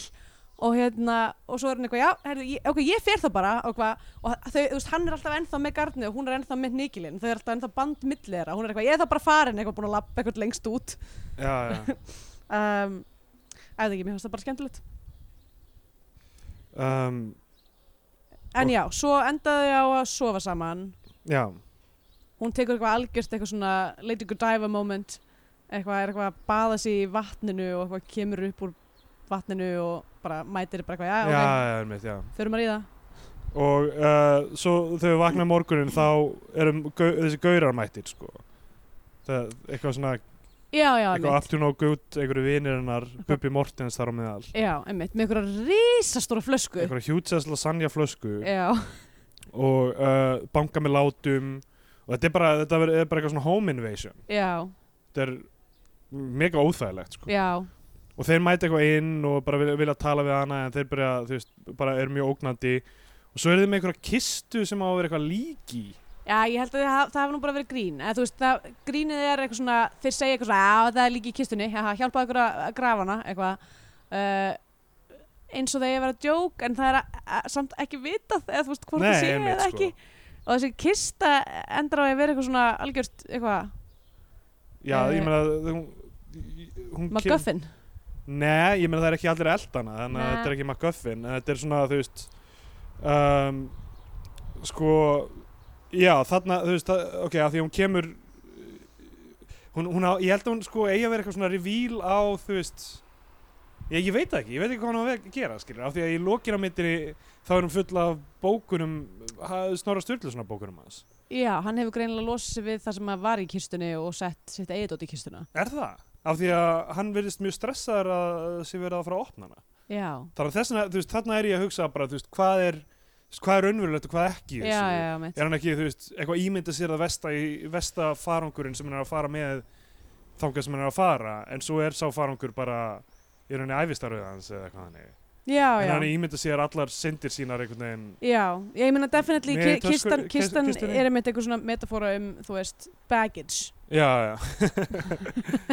Speaker 3: og hérna, og svo er hann eitthvað, já, herri, ég, ok, ég fer það bara og, hvað, og þau, þú veist, hann er alltaf ennþá með garnið og hún er ennþá með nikilinn, þau er alltaf ennþá bandmillera, hún er eitthvað, ég er það bara farin eitthvað búin að lappa eitthvað lengst út
Speaker 4: já, já
Speaker 3: um, eða ekki, mér finnst það bara skemmtilegt
Speaker 4: um,
Speaker 3: en já, svo endaði þau á að sofa saman
Speaker 4: já,
Speaker 3: hún tekur eitthvað algjört eitthvað svona Lady Godiva moment eitthvað er eitthvað að baða sig í vatninu og eitthvað kemur upp úr vatninu og bara mætir bara eitthvað,
Speaker 4: já,
Speaker 3: já,
Speaker 4: já, einmitt, já.
Speaker 3: ok, þurfum að ríða
Speaker 4: og uh, svo þegar við vakna morgunin þá erum gau, þessi gaurar mættir sko það, eitthvað svona,
Speaker 3: já, já,
Speaker 4: eitthvað aftur nóg gút einhverju vinir hennar, Bubbi Mortens þar á meðal
Speaker 3: já, einmitt, með einhverja risastóra flösku
Speaker 4: einhverja hjútsess lasagna flösku
Speaker 3: já,
Speaker 4: og uh, banka með látum og þetta er bara, þetta er, er bara eitthvað svona home invasion
Speaker 3: já,
Speaker 4: þetta er mega óþægilegt sko
Speaker 3: já
Speaker 4: og þeir mæta eitthvað inn og bara vilja, vilja tala við hana en þeir byrja, þú veist, bara eru mjög ógnandi og svo eru þeir með einhverja kistu sem á að vera eitthvað lík í
Speaker 3: já, ég held að það, það hafi nú bara verið grín eða þú veist, það, grínið er eitthvað svona þeir segja eitthvað svona, já, það er líki í kistunni haha, hjálpaðu ykkur að að grafa hana, eitthvað uh, eins og það er að vera djók en það er að, að, samt ekki vitað eða þú veist, hvort það sé
Speaker 4: einmitt, sko.
Speaker 3: eða ekki og þessi kista endur á að vera eitthvað svona algjört eitthvað,
Speaker 4: Já,
Speaker 3: Eh,
Speaker 4: ég meina hún, hún
Speaker 3: MacGuffin
Speaker 4: Nei, ég meina það er ekki allir eldana þannig að
Speaker 3: Nei.
Speaker 4: þetta er ekki MacGuffin en þetta er svona, þú veist um, sko já, þarna, þú veist, það, ok, af því hún kemur hún, hún á, ég held að hún sko eigi að vera eitthvað svona reveal á, þú veist ég, ég veit það ekki, ég veit ekki hvað hún á að ve- gera skilur, af því að í lokina myndinni þá er hún full af bókunum ha- Snorra Sturlusonar bókunum hans
Speaker 3: Já, hann hefur greinilega losið sig við það sem að var í kistunni og sett sitt eigidótt í kistuna
Speaker 4: Er það? Af því að hann verðist mjög stressaður að sé verið að fara að opna hana.
Speaker 3: Já,
Speaker 4: Þannig að þessna, þú veist, þarna er ég að hugsa bara, þú veist, hvað er, þú veist, hvað er raunverulegt og hvað ekki í
Speaker 3: já,
Speaker 4: þessu.
Speaker 3: já, mitt
Speaker 4: Er hann ekki, þú veist, eitthvað ímynda sér að vesta, í, vesta farangurinn sem hann er að fara með þangað sem hann er að fara en svo er sá farangur bara í rauninni æfistarfið hans eða eitthvað þannig
Speaker 3: já,
Speaker 4: en
Speaker 3: já.
Speaker 4: hann ímynda sér allar syndir sínar einhvern veginn
Speaker 3: Já, já, ég meina definitely
Speaker 4: Með
Speaker 3: ki
Speaker 4: tösku-
Speaker 3: kistan,
Speaker 4: kis-
Speaker 3: kistan
Speaker 4: kistunni.
Speaker 3: er einmitt eitthvað svona metafóra um, þú veist, baggage
Speaker 4: já, já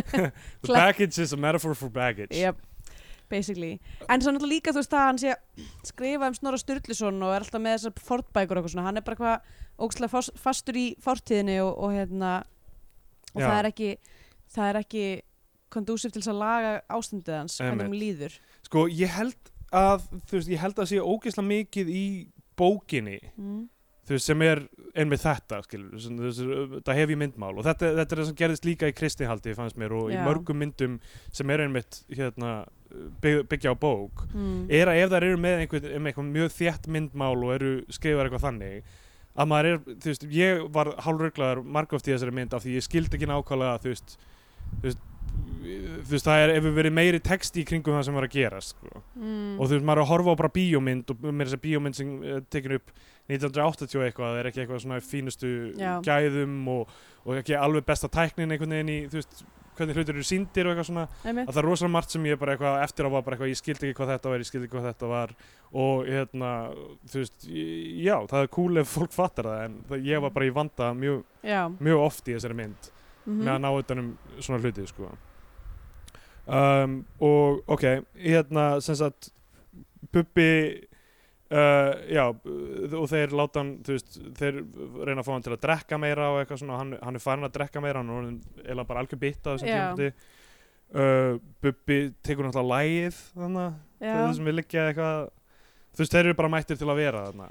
Speaker 4: the
Speaker 3: Kla-
Speaker 4: baggage is a metaphor for baggage
Speaker 3: yep. basically en svo náttúrulega líka þú veist að hann sé að skrifa um Snorra Sturluson og er alltaf með þessar fortbækur og eitthvað svona, hann er bara hvað ógstlega fas- fastur í fortíðinni og, og hérna og
Speaker 4: Já.
Speaker 3: það er ekki það er ekki kondúsif til þess að laga ástandið hans hvernig
Speaker 4: Einmitt.
Speaker 3: hann líður
Speaker 4: sko ég held að þú veist ég held að sé ógeðslega mikið í bókinni
Speaker 3: mm.
Speaker 4: þú veist sem er einmitt þetta skilur sem, þú veist, það hef ég myndmál og þetta, þetta er það sem gerðist líka í kristihaldi fannst mér og
Speaker 3: Já.
Speaker 4: í mörgum myndum sem er einmitt hérna bygg, byggja á bók
Speaker 3: Mm.
Speaker 4: er að ef þær eru með einhvern um eitthvað mjög þétt myndmál og eru skrifar eitthvað þannig að maður er, þú veist, ég var hálfruglaður margóft í þessari mynd af því ég skildi ekki nákvæmlega, þú veist þú veist, þú veist það er, ef við verið meiri text í kringum það sem var að gera sko.
Speaker 3: Mm.
Speaker 4: og þú veist, maður er að horfa á bara bíómynd og mér þess að bíómynd sem eh, tekin upp 1980 eitthvað, það er ekki eitthvað svona í fínustu
Speaker 3: Já.
Speaker 4: gæðum og, og ekki alveg besta tæknin einhvern veginn í, þú veist, hvernig hlutur eru síndir og eitthvað svona
Speaker 3: einmitt.
Speaker 4: að það er rosalega margt sem ég bara eitthvað eftir á var bara eitthvað, ég skildi ekki hvað þetta var, ég skildi ekki hvað þetta var og hérna, þú veist ég- já, það er cool ef fólk fattar það en það, ég var bara í vanda mjög,
Speaker 3: já
Speaker 4: mjög oft í þessari mynd
Speaker 3: mm
Speaker 4: með að ná utan um svona hluti, sko um, og ok, hérna, sem sagt Bubbi Uh, já, og þeir láta hann þú veist, þeir reyna að fá hann til að drekka meira og eitthvað svona, hann, hann er farin að drekka meira hann er orðinn eiginlega bara algjör bytta þessum
Speaker 3: Já.
Speaker 4: tímpti uh, Bubbi tekur náttúrulega lægið þannig,
Speaker 3: já.
Speaker 4: þeir sem við liggja eitthvað þú veist, þeir eru bara mættir til að vera þarna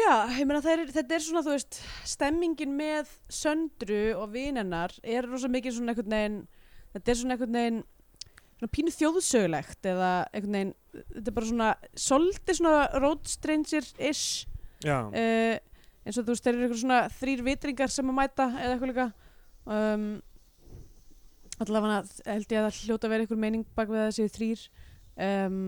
Speaker 3: Já, ég meina þeir, þetta er svona, þú veist, stemmingin með söndru og vinennar er rosa mikið svona einhvern veginn, þetta er svona einhvern veginn, svona pínu þjóðsögulegt eða einhvern veginn, þetta er bara svona, svolítið svona road stranger-ish,
Speaker 4: já,
Speaker 3: uh, eins og þú veist, þeir eru einhver svona þrýr vitringar sem að mæta eða eitthvað líka. Um, allavega held ég að það hljóta að vera einhver meining bak við að það séu þrýr. Um,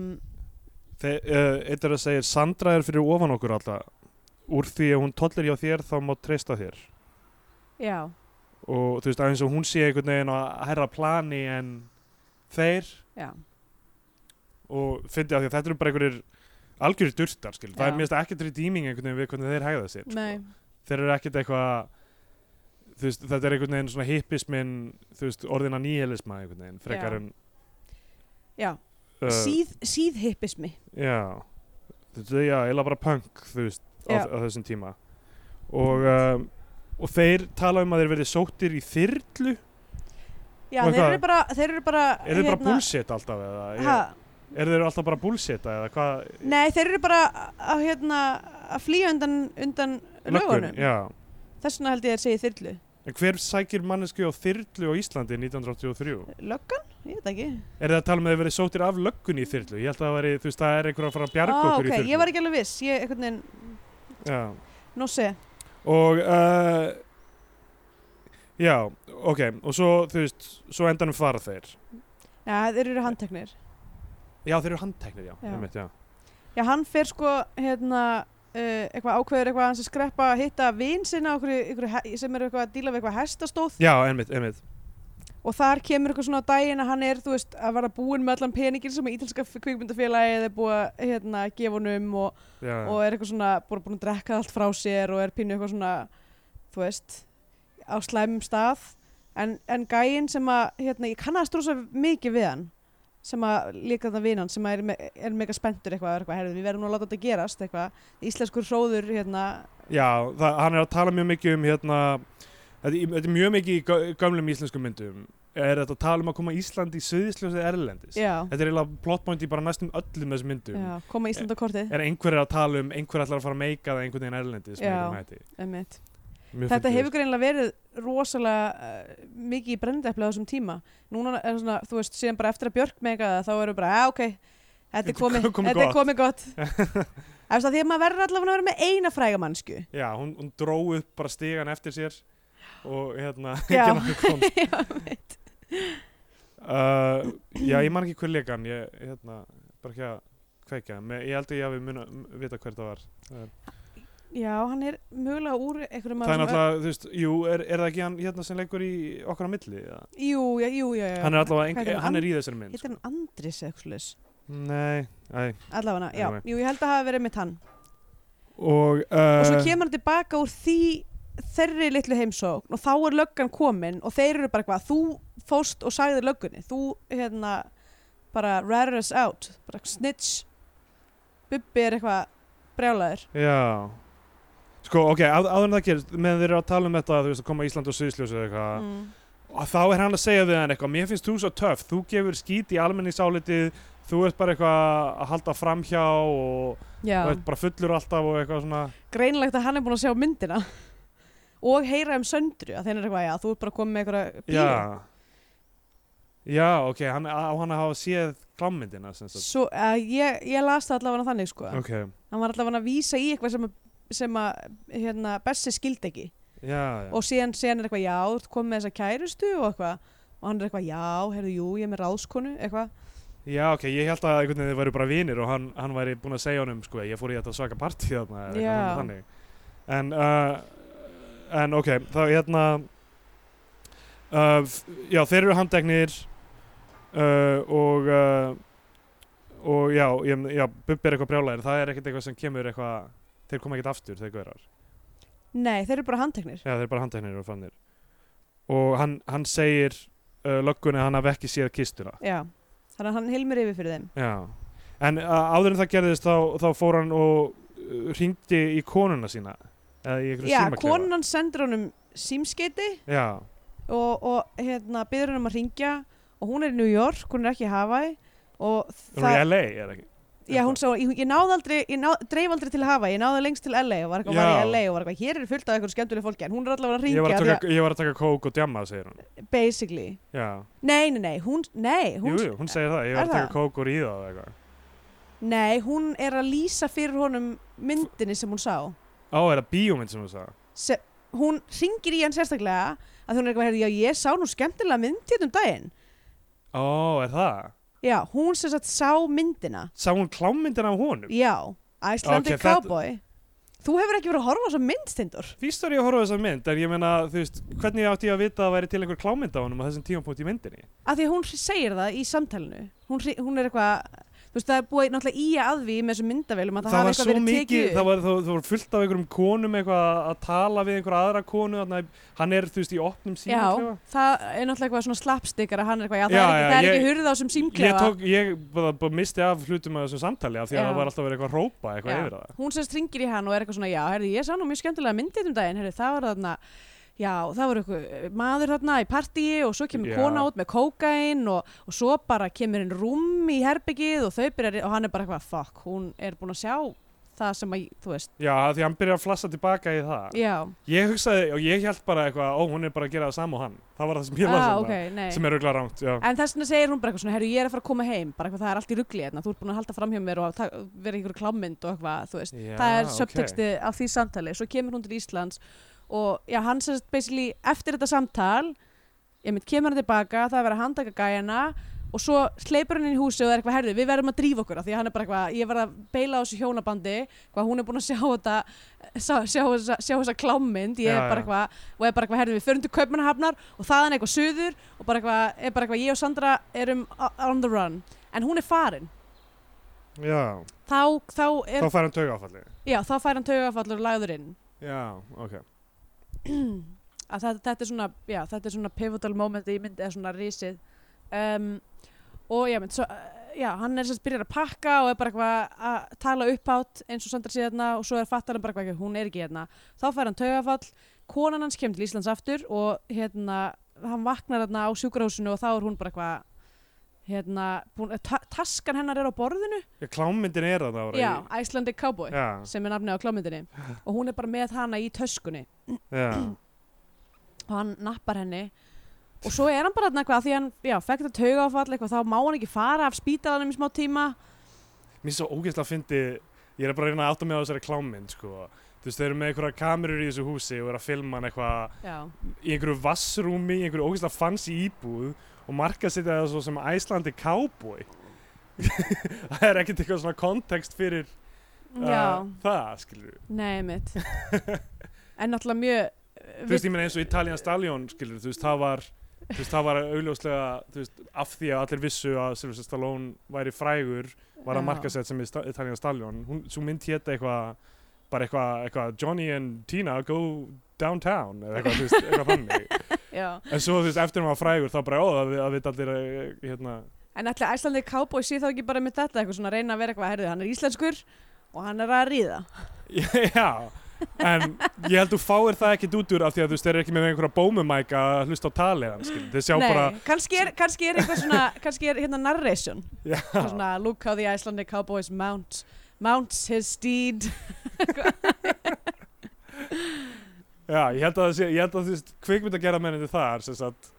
Speaker 4: þeir, uh, eitt er að segja Sandra er fyrir ofan okkur alltaf úr því að hún tollir hjá þér þá má treysta þér
Speaker 3: já,
Speaker 4: og þú veist, aðeins og hún sé einhvern veginn að herra plani en þeir
Speaker 3: já,
Speaker 4: og fyndi að því að þetta eru bara einhverjir algjörir durtar, skil, það
Speaker 3: Já.
Speaker 4: er mjög ekkert redeeming einhvern veginn við hvernig þeir hægða sér sko.
Speaker 3: nei,
Speaker 4: þeir eru ekkert eitthvað þú veist, þetta er einhvern veginn svona hippismin þú veist, orðina nýhelisma einhvern veginn frekar
Speaker 3: Já.
Speaker 4: en
Speaker 3: já,
Speaker 4: uh,
Speaker 3: síð, síðhippismi.
Speaker 4: já, þú veist, já, eila bara punk þú veist, á,
Speaker 3: Já.
Speaker 4: á þessum tíma og um, og þeir tala um að þeir verði sóttir í þyrlu
Speaker 3: Já,
Speaker 4: Og
Speaker 3: þeir
Speaker 4: hvað?
Speaker 3: eru, bara, þeir eru bara
Speaker 4: er þeir bara bullshit alltaf eða
Speaker 3: Hérna- ha,
Speaker 4: Ég- er þeir alltaf bara bullshit eða hvað
Speaker 3: Nei, þeir eru bara að, hérna, að flýja undan, undan lögunum
Speaker 4: já
Speaker 3: Þess vegna held ég að segja þyrlu
Speaker 4: En hver sækir mannesku á þyrlu á Íslandi 1983?
Speaker 3: Löggan? Ég veit ekki
Speaker 4: Er það að tala um að þeir verið sóttir af löggunni í þyrlu? Ég held að það væri, þú veist, það er einhver að fara að bjarga
Speaker 3: Ó,
Speaker 4: okkur
Speaker 3: Ah, ok,
Speaker 4: í þyrlu.
Speaker 3: Ég var ekki alveg viss, ég einhvern veginn
Speaker 4: Já.
Speaker 3: No sé,
Speaker 4: og uh, já, ok og svo, þú veist, svo endanum fara þeir
Speaker 3: já, þeir eru handteknir
Speaker 4: já, þeir eru handteknir, já,
Speaker 3: Já.
Speaker 4: Einmitt, já.
Speaker 3: Já, hann fer sko, hérna Uh, eitthvað ákveður eitthvað að hans að skreppa að hitta vin sinna okkur, okkur sem er eitthvað að díla við eitthvað hestastóð
Speaker 4: já, einmitt, einmitt
Speaker 3: og þar kemur eitthvað svona á daginn að hann er, þú veist, að vera búinn með allan peningin sem ítalska kvikmyndafélagið er búið að hérna, gefa honum og
Speaker 4: já,
Speaker 3: og er eitthvað svona bara búin að drekka allt frá sér og er pínu eitthvað svona þú veist, á slæmum stað en, en gæinn sem að hérna, ég kannast rosa mikið við hann sem að líka þarna vinan sem að er, me er mega spenntur eitthvað, er eitthvað herrðu, við verðum nú að láta þetta gerast eitthvað, íslenskur hróður hérna,
Speaker 4: já það, hann er að tala mjög mikið um hérna, þetta, þetta er mjög mikið í gö- gömlum íslenskum myndum er þetta að tala um að koma Íslandi í söðisljósið erlendis
Speaker 3: já,
Speaker 4: þetta er eiginlega plotpoint í bara næstum öllum þessum myndum
Speaker 3: já koma Ísland á kortið
Speaker 4: er einhver að tala um einhver ætlar að fara að meika það einhvern veginn erlendis með
Speaker 3: Já.
Speaker 4: einhverjum hætti.
Speaker 3: einmitt.
Speaker 4: Mjög
Speaker 3: þetta
Speaker 4: fyndið.
Speaker 3: hefur greinlega verið rosalega uh, mikið í brendefli á þessum tíma núna er svona, þú veist, síðan bara eftir að Björk mega það, þá erum við bara, að ok þetta er
Speaker 4: Þetta
Speaker 3: komið,
Speaker 4: kom- komið gott."
Speaker 3: þetta er komið gott eftir að því að maður verður allavega að vera með eina fræga mannsku
Speaker 4: já, hún, hún dró upp bara stígan eftir sér og hérna
Speaker 3: Já.
Speaker 4: enginn annar komst.
Speaker 3: Já, einmitt.
Speaker 4: uh, já, ég man ekki hver leikan ég, hérna, bara ekki að kveika Me, ég held að ég hafi muna, m- vita hver það var
Speaker 3: já, hann er mögulega úr einhverjum af
Speaker 4: það er
Speaker 3: þessum
Speaker 4: náttúrulega, þú veist, jú, er, er það ekki hann hérna sem leikur í okkar á milli? Ja.
Speaker 3: ö- Jú, já, jú, já, já
Speaker 4: Hann er allavega,
Speaker 3: Hvað heitir
Speaker 4: eng-
Speaker 3: hann?
Speaker 4: hann er í þessari mynd sko.
Speaker 3: Hittir hann Andris eða eitthvað slags
Speaker 4: Nei, nei
Speaker 3: Allavega, já,
Speaker 4: Anyway.
Speaker 3: jú, ég held að hafa verið mitt hann
Speaker 4: Og,
Speaker 3: Og svo
Speaker 4: uh,
Speaker 3: kemur hann tilbaka úr því þeirri litlu heimsókn og þá er löggan komin og þeir eru bara hvað, þú fóst og sagði löggunni, þú hérna bara rare us out, bara snitch Bubbi er eitthvað brjálaður
Speaker 4: Já Sko, ok, á, áður en það gerist meðan þeir eru að tala um þetta, þú veist, að koma Ísland og Sviðsljósið eða eitthvað
Speaker 3: mm.
Speaker 4: og þá er hann að segja við hann eitthvað mér finnst þú svo töff, þú gefur skít í almenningsálitið þú ert bara eitthvað að halda framhjá og
Speaker 3: Já,
Speaker 4: þú ert bara fullur alltaf og eitthvað svona
Speaker 3: greinlegt að hann er búin að sjá myndina og heyra um söndru að þeir eru eitthvað, já, þú ert bara komið með eitthvað bíó
Speaker 4: Já Já, ok, hann, á hann að hafa séð klámmyndina sem sagt
Speaker 3: Svo, uh, ég, ég las það allavega þannig sko
Speaker 4: Ok,
Speaker 3: hann var allavega að vísa í eitthvað sem að, sem að hérna, Bessi skildi ekki
Speaker 4: já, já
Speaker 3: og síðan, síðan er eitthvað já, þú ert komið með þessa kærustu og eitthvað og hann er eitthvað já, heyrðu, jú, ég er með ráðskonu eitthvað,
Speaker 4: Já, ok, ég held að einhvern veginn þið væri bara vinir og hann, hann væri búinn að segja honum sko, ég fór í þetta svaka partí þarna eða eitthvað
Speaker 3: Já.
Speaker 4: þannig. en, uh, en ok, þá hérna uh, f- Já, þeir eru handteknir uh, og uh, og já, ég, já Bubbi er eitthvað brjálæðir, það er ekkert eitthvað sem kemur eitthvað, þeir koma ekkert aftur þeir gaurar
Speaker 3: nei, þeir eru bara handteknir
Speaker 4: Já, þeir eru bara handteknir og fannir og hann, hann segir uh, löggunni að hann hafi ekki séð kistuna
Speaker 3: já, þannig að hann hilmir yfir fyrir þeim
Speaker 4: Já, en uh, áður en það gerðist þá, þá fór hann og uh, ringdi í konuna sína eða í einhverju
Speaker 3: já,
Speaker 4: símaklefa
Speaker 3: konan sendur honum símskeiti
Speaker 4: Já,
Speaker 3: og, og hérna, byrður hann um að ringja og hún er í New York, hún er ekki í Hawaii og
Speaker 4: hún er í LA er það ekki
Speaker 3: Já, hún sá, ég, ég náði aldrei, ég ná, dreif aldrei til hafa, ég náði lengst til LA og var eitthvað var
Speaker 4: Já.
Speaker 3: í LA og var eitthvað, hér er fullt af eitthvað skemmtileg fólki, en hún er allavega að
Speaker 4: ég var,
Speaker 3: ringja,
Speaker 4: að taka, ég var að taka kók og djamma, segir hún
Speaker 3: að, basically.
Speaker 4: Já,
Speaker 3: Nei, nei, nei, hún, nei, hún,
Speaker 4: jú, jú, hún segir það, ég
Speaker 3: er
Speaker 4: var að
Speaker 3: það?
Speaker 4: taka kók og ríða og eitthvað
Speaker 3: nei, hún er að lýsa fyrir honum myndinni sem hún sá.
Speaker 4: Á, er það bíómynd sem hún sagði?
Speaker 3: Se, hún ringir í hann sérstaklega að hún er eitthvað, heyrðu, já, ég sá nú skemmtilega mynd hérna um daginn.
Speaker 4: Ó, er það?
Speaker 3: Já, hún sem sagt sá myndina.
Speaker 4: Sá hún klámyndina af honum?
Speaker 3: Já, Icelandic
Speaker 4: Ok, þetta-
Speaker 3: Cowboy. Þú hefur ekki verið að horfa á þessa mynd, Stindur.
Speaker 4: Fyrst var ég að horfa á þessa mynd, en ég meina, þú veist, hvernig átti ég að vita að það væri til einhver klámynd af honum á þessum tímapunkt í myndinni?
Speaker 3: að því að hún segir það í samtalinu hún, hri- hún er eitthvað þú veist það er búið náttúrulega í að því með þessum myndavélum að það,
Speaker 4: það
Speaker 3: hafi
Speaker 4: var
Speaker 3: eitthvað
Speaker 4: svo
Speaker 3: verið
Speaker 4: mikið,
Speaker 3: tekið
Speaker 4: það
Speaker 3: upp.
Speaker 4: var, það, það var fullt af einhverjum konum eitthvað að tala við einhverja aðra konu, þannig að hann er, þú veist, í opnum símaklefa.
Speaker 3: já, það er náttúrulega eitthvað svona slapstickar að hann er eitthvað, já það
Speaker 4: Já,
Speaker 3: er
Speaker 4: já,
Speaker 3: ekki, það er
Speaker 4: ég-
Speaker 3: ekki hurð á sem
Speaker 4: Ég
Speaker 3: símklefa
Speaker 4: tók, ég bara, bara misti af hlutum af þessum samtali af því að
Speaker 3: Já.
Speaker 4: það var alltaf verið eitthvað að rópa eitthvað
Speaker 3: Já.
Speaker 4: yfir það.
Speaker 3: hún semst ringir í hann og er eitthvað svona já, herði, ég sá nú mjög skemmtilega myndið um daginn herði, það var þarna, já, það var eitthvað maður þarna í partíi og svo kemur
Speaker 4: Já.
Speaker 3: kona út með kókain og, og svo bara kemur henn rúm í herbyggið og þau byrjar, og hann er bara eitthvað, fuck, hún er búin að sjá það sem að, þú veist,
Speaker 4: Já, af því að hann byrjar að flassa tilbaka í það.
Speaker 3: já,
Speaker 4: Ég hugsaði, og ég held bara eitthvað, ó, hún er bara að gera það sama og hann. Það var það sem ég
Speaker 3: ah,
Speaker 4: lasa
Speaker 3: ok, nei.
Speaker 4: það, sem er auðvitað rangt, já.
Speaker 3: En þess vegna segir hún bara eitthvað svona, herru ég er að fara að koma heim, bara eitthvað það er allt í ruggli hérna, þú ert búin að halda fram hjá mér og ta- vera í einhverju klámynd og eitthvað, þú veist.
Speaker 4: Já,
Speaker 3: það er
Speaker 4: ok.
Speaker 3: subtexti á því samtali, svo kemur hún til Íslands og já, hann sérst basically eftir þetta samtal, ég mynd kemur hann tilbaka, það er verið að handtaka gæjana og svo hleypur hann inn í húsi og það er eitthvað herðu, við verðum að drífa okkur af því að hann er bara eitthvað, ég var að beila á þessu hjónabandi, hvað hún er búin að sjá þetta, sjá, sjá, sjá, sjá þessa klámynd, ég
Speaker 4: Já,
Speaker 3: er
Speaker 4: já.
Speaker 3: bara eitthvað, og er bara eitthvað, herðu, við förum til Kaupmannahafnar og þaðan eitthvað suður og bara eitthvað, er bara eitthvað, ég og Sandra erum o- on the run, en hún er farin,
Speaker 4: Já,
Speaker 3: þá, þá er,
Speaker 4: þá fær hann taugafalli.
Speaker 3: já, þá fær hann taugafallur og lagður inn,
Speaker 4: Já, ok.
Speaker 3: að þetta, þetta er svona já, þetta er svona pivotal moment í myndi eða svona risið um, og já, mynd, svo, uh, já, hann er sérst byrjar að pakka og er bara eitthvað að tala upphátt eins og Sandra sé hérna og svo er fattar hann bara eitthvað, hún er ekki hérna þá fær hann taugafall, konan hans kemur til Íslands aftur og hérna hann vaknar hérna á sjúkrahúsinu og þá er hún bara eitthvað hérna, búin, ta taskan hennar er á borðinu
Speaker 4: Já, klámyndin er það ára.
Speaker 3: já, Icelandic Cowboy
Speaker 4: Já,
Speaker 3: sem er nafnið á klámyndinni og hún er bara með hana í töskunni
Speaker 4: já,
Speaker 3: og hann nappar henni og svo er hann bara þarna eitthvað af því að hann já, fekk þetta taugafall eitthvað þá má hann ekki fara af spítalanum í smá tíma
Speaker 4: Mér finnst svo ógeðslega að fyndi, ég er bara að reyna að átta mig á þessari klámynd, sko. Þú veist, þeir eru með einhverja kamerur í þessu húsi og eru að filma hann eitthvað
Speaker 3: já,
Speaker 4: í einhverju vassrúmi, í einhverju ógeðslega fancy íbúð og marka sitja það svo sem Æslandi cowboy. það er ekkert eitthvað svona kontekst fyrir uh,
Speaker 3: Já,
Speaker 4: það skilur
Speaker 3: nei mitt En náttúrulega mjög
Speaker 4: þú veist, ég meina eins og Italian Stallion skilur, þú veist, það var þú veist, það var augljóslega, þú veist, af því að allir vissu að Sylvester Stallone væri frægur var að
Speaker 3: Já.
Speaker 4: markasett sem Ita- Italian Stallion hún, svo mynd hétt eitthvað bara eitthvað, eitthvað, Johnny and Tina go downtown, eða eitthvað, þú veist, eitthvað fannig
Speaker 3: Já.
Speaker 4: en svo, þú veist, eftir hún var frægur þá bara, ó, það, það veit allir að, hérna,
Speaker 3: En ætli æslandið cowboy sé þá ekki bara með þetta eitthvað svona að reyna að vera eitthvað herðu, hann er íslenskur og hann er að ríða
Speaker 4: já en ég held þú fáir það ekkit út úr af því að þú veist, þeir eru ekki með einhverja bómumæk að hlusta á talið hans, skilur, þeir sjá
Speaker 3: Nei,
Speaker 4: bara
Speaker 3: kannski er, kannski er eitthvað svona kannski er hérna narration
Speaker 4: Já.
Speaker 3: Eitthvað svona, Look how the Icelandic cowboys mount mounts his steed
Speaker 4: Já, ég held að það sé, ég held að þú veist, kvikmynd að gera mennandi þar, sem sagt,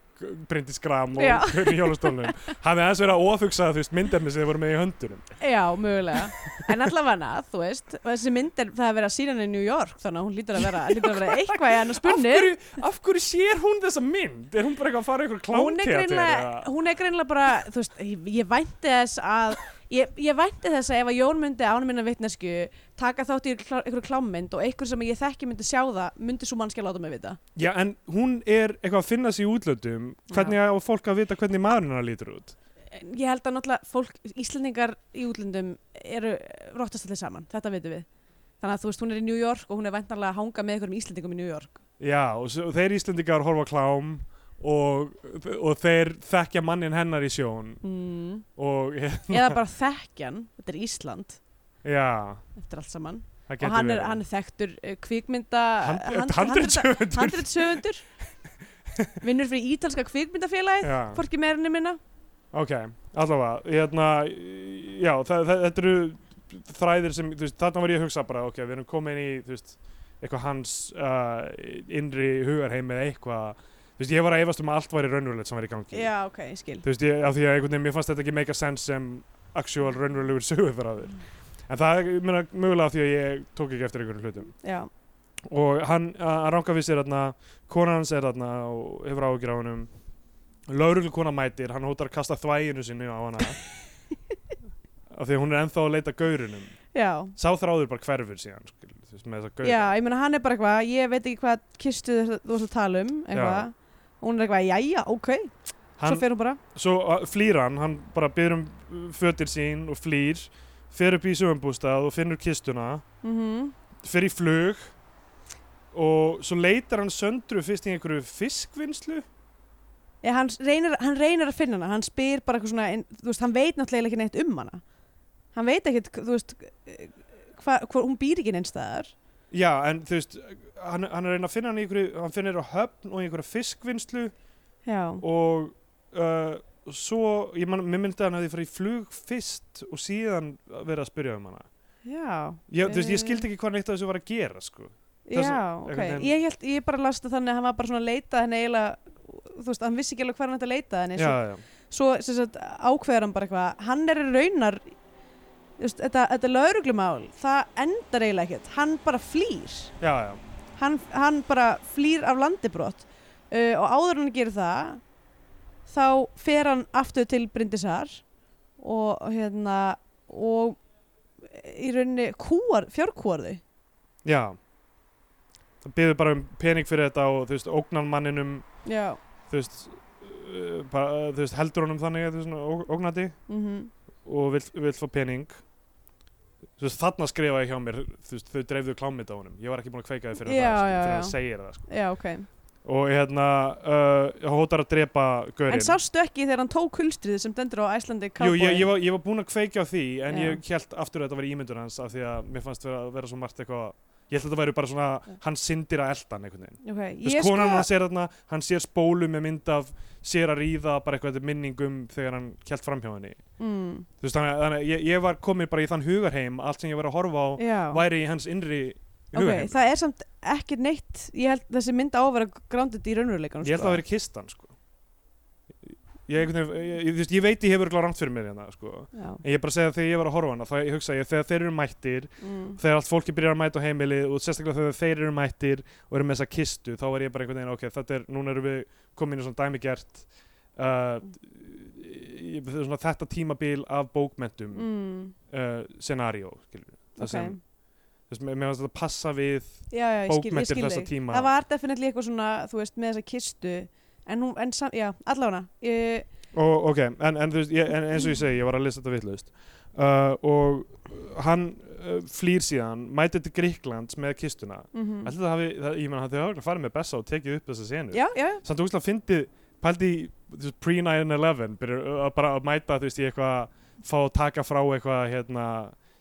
Speaker 4: Bryndís Gram
Speaker 3: Já.
Speaker 4: og Hvernig hjólastólnum, hafi aðeins verið að ofugsa, þú veist, myndefni sem þið voru með í höndunum.
Speaker 3: Já, mögulega En allavega, þú veist, þessi mynd er það er verið að sína hann í New York þannig að hún lítur að vera, lítur að vera eitthvað í hann að
Speaker 4: Af
Speaker 3: spunni
Speaker 4: hverju, af hverju sér hún þessa mynd? Er hún bara eitthvað að fara í einhver
Speaker 3: hún er
Speaker 4: klánteater?
Speaker 3: greinlega, hún er greinlega bara þú veist, ég, ég vænti þess að ég, ég vænti þess að ef að Jón myndi án minna vitnesku taka þátt í klá, einhverju klámynd og einhver sem ég þekki myndi sjá það myndi svo mannskja láta mig vita
Speaker 4: Já, en hún er eitthvað að finna sig í útlöndum, hvernig á fólk að vita hvernig maðurinn hennar lítur út?
Speaker 3: En ég held að náttúrulega fólk, Íslendingar í útlöndum eru rottastallir saman þetta veitum við þannig að þú veist, hún er í New York og hún er væntanlega að hanga með einhverjum Íslendingum í New York
Speaker 4: Já, og, svo, og þeir Íslendingar horfa á klám og, og þeir þekkja mannin hennar í sjón
Speaker 3: mm.
Speaker 4: og, já,
Speaker 3: eða bara þekkjan, þetta er Ísland eftir allt saman
Speaker 4: það
Speaker 3: og
Speaker 4: getur
Speaker 3: hann er,
Speaker 4: verið.
Speaker 3: hann er þekktur uh, kvikmynda
Speaker 4: Hand-
Speaker 3: hand-
Speaker 4: handritshöfundur.
Speaker 3: handritshöfundur vinnur fyrir ítalska kvikmyndafélagið
Speaker 4: Já.
Speaker 3: hvorki meirinu minna
Speaker 4: Ok, allavega, hérna, já, þa þa þetta eru þræðir sem, þú veist, þarna var ég að hugsa bara, ok, við erum komin í, þú veist, eitthvað hans uh, innri hugarheim eða eitthvað, þú veist, ég var að efast um að allt væri raunverulegt sem væri í gangi.
Speaker 3: já ok, ég skil
Speaker 4: Þú veist, ég, af því að einhvern veginn, mér fannst þetta ekki make a sense sem actual raunverulegur sögufræður. En það er, ég meina, mögulega af því að ég tók ekki eftir einhverjum hlutum
Speaker 3: já,
Speaker 4: og hann að ranka við sér þarna konan hans er þarna og hefur áhyggjur á hennum lauruglu kona mætir, hann hótar að kasta þvæginu sinni á hana af því að hún er ennþá að leita gaurunum
Speaker 3: já,
Speaker 4: sá þráður bara hverfur síðan skil, þú veist, með þessa gaur
Speaker 3: já ég meina hann er bara eitthvað ég veit ekki hvað kistu þú varst að tala um
Speaker 4: Já.
Speaker 3: eitthvað hún er eitthvað, jæja, ok svo
Speaker 4: hann,
Speaker 3: fer hún bara
Speaker 4: svo uh, flýr hann, hann bara byrður um uh, fötir sín og flýr fer upp í sögumbústað og finnur kistuna
Speaker 3: mm
Speaker 4: fer í flug og svo leitar hann söndru fyrst í einhverju fiskvinnslu
Speaker 3: ég, hann, reynir, hann reynir að finna hana hann spyr bara eitthvað svona en, þú veist, hann veit náttúrulega ekki neitt um hana hann veit ekkit, þú veist hvað, hva, hún býr ekki neins staðar
Speaker 4: Já, en þú veist, hann, hann er að reyna að finna hann í einhverju, hann finnir á höfn og í einhverju fiskvinnslu
Speaker 3: já,
Speaker 4: og uh, svo, ég man, mér myndi að hann hefði farið í flug fyrst og síðan verið að spyrja um hana.
Speaker 3: já
Speaker 4: Ég, þú veist,
Speaker 3: Eh.
Speaker 4: ég skildi ekki hvað neitt af þessu var að gera, sko. Þess-
Speaker 3: Já, ok.
Speaker 4: einhvern veginn-
Speaker 3: Ég, held, ég bara lasta þannig að hann var bara svona að leita henni eiginlega, þú veist, hann vissi ekki alveg hvað hann ætti að leita henni.
Speaker 4: Já, já.
Speaker 3: Svo, svo sem sagt, ákveður hann bara eitthvað, hann er í raunar, þú veist, þetta, þetta lauruglumál, það endar eiginlega ekkert. Hann bara flýr,
Speaker 4: Já, já.
Speaker 3: hann, hann bara flýr af landibrott uh, og áður en hann gerir það, þá fer hann aftur til Bryndisar og hérna, og í rauninni kúar, fjárkúar þau.
Speaker 4: Já. Það byrður bara um pening fyrir þetta og þú veist, ógnan manninum,
Speaker 3: Já.
Speaker 4: þú veist, uh, bara, þú veist, heldur honum þannig að þú veist, ógnandi
Speaker 3: Mm
Speaker 4: og vill, vill fá pening. Þú veist, þarna skrifa ég hjá mér, þú veist, þau dreifðu klámið á honum. Ég var ekki búin að kveika þið fyrir
Speaker 3: Já,
Speaker 4: það, sko,
Speaker 3: já,
Speaker 4: fyrir
Speaker 3: já.
Speaker 4: að segja það, sko.
Speaker 3: Já, ok.
Speaker 4: Og hérna, uh, hótar að drepa gaurinn.
Speaker 3: En sástu ekki þegar hann tók hulstrið sem dendur á Æslandi
Speaker 4: Jú,
Speaker 3: Cowboy?
Speaker 4: ég, ég, var, ég var búin að kveika á því, en
Speaker 3: Já.
Speaker 4: ég held aftur að þetta var ímyndun hans af því að mér fannst vera, vera svo margt eitthvað, ég held að þetta væri bara svona, hann syndir að eldan einhvern veginn.
Speaker 3: Ok,
Speaker 4: Þú
Speaker 3: ég
Speaker 4: veist, konan
Speaker 3: sko...
Speaker 4: hans er þarna, hann sér spólu með mynd af, sér að ríða, bara eitthvað þetta er minning um þegar hann held framhjá henni.
Speaker 3: Mm,
Speaker 4: Þú veist, þannig, að- þannig að ég, ég var komin bara í þann hugarheim, allt sem ég var að horfa á
Speaker 3: já,
Speaker 4: væri í hans innri
Speaker 3: ok,
Speaker 4: hugarheim.
Speaker 3: það er samt ekkert neitt, ég held þessi mynd á að vera grounded í raunveruleikanum.
Speaker 4: Ég held að það veri kistan, sko. Ég, einhvern veginn- ég, ég, þú veist, ég veit ég hefur gláð rangt fyrir mér hérna, sko.
Speaker 3: Já,
Speaker 4: En ég er bara að segja að þegar ég var að horfa á hana, þá ég hugsa ég þegar þeir eru mættir,
Speaker 3: mm,
Speaker 4: þegar allt fólki byrjar að mæta á heimilið og sérstaklega þegar þeir eru mættir og eru með þessa kistu, þá var ég bara einhvern veginn, ok, þetta er, núna erum við komin í svona dæmigert, uh, ég- þetta er svona þetta tímabil af bókmentum
Speaker 3: mm,
Speaker 4: uh, scenario, skilur við.
Speaker 3: ok,
Speaker 4: sem Þess, mér mér finnst þetta passa við
Speaker 3: já, já, ég skil, ég
Speaker 4: bókmyndir
Speaker 3: skil
Speaker 4: þessa
Speaker 3: þig
Speaker 4: tíma
Speaker 3: það var definitely eitthvað svona, þú veist, með þessa kistu en hún, en sam, já, allavega ég,
Speaker 4: og, ok, en, en, þú veist, ég, en eins og ég segi ég var að lesa þetta vitlaust uh, og hann uh, flýr síðan mætir til Gríklands með kistuna
Speaker 3: mm
Speaker 4: Ætli það hafi, það, ég menn að þau hafa örugglega farið með Bessa og tekið upp þessa senu
Speaker 3: já, já,
Speaker 4: samt úrslega fyndið, pældi í, þú veist, pre-9-11 byrjar að bara að mæta þú veist í eitthvað, fá að taka frá eitthvað hérna,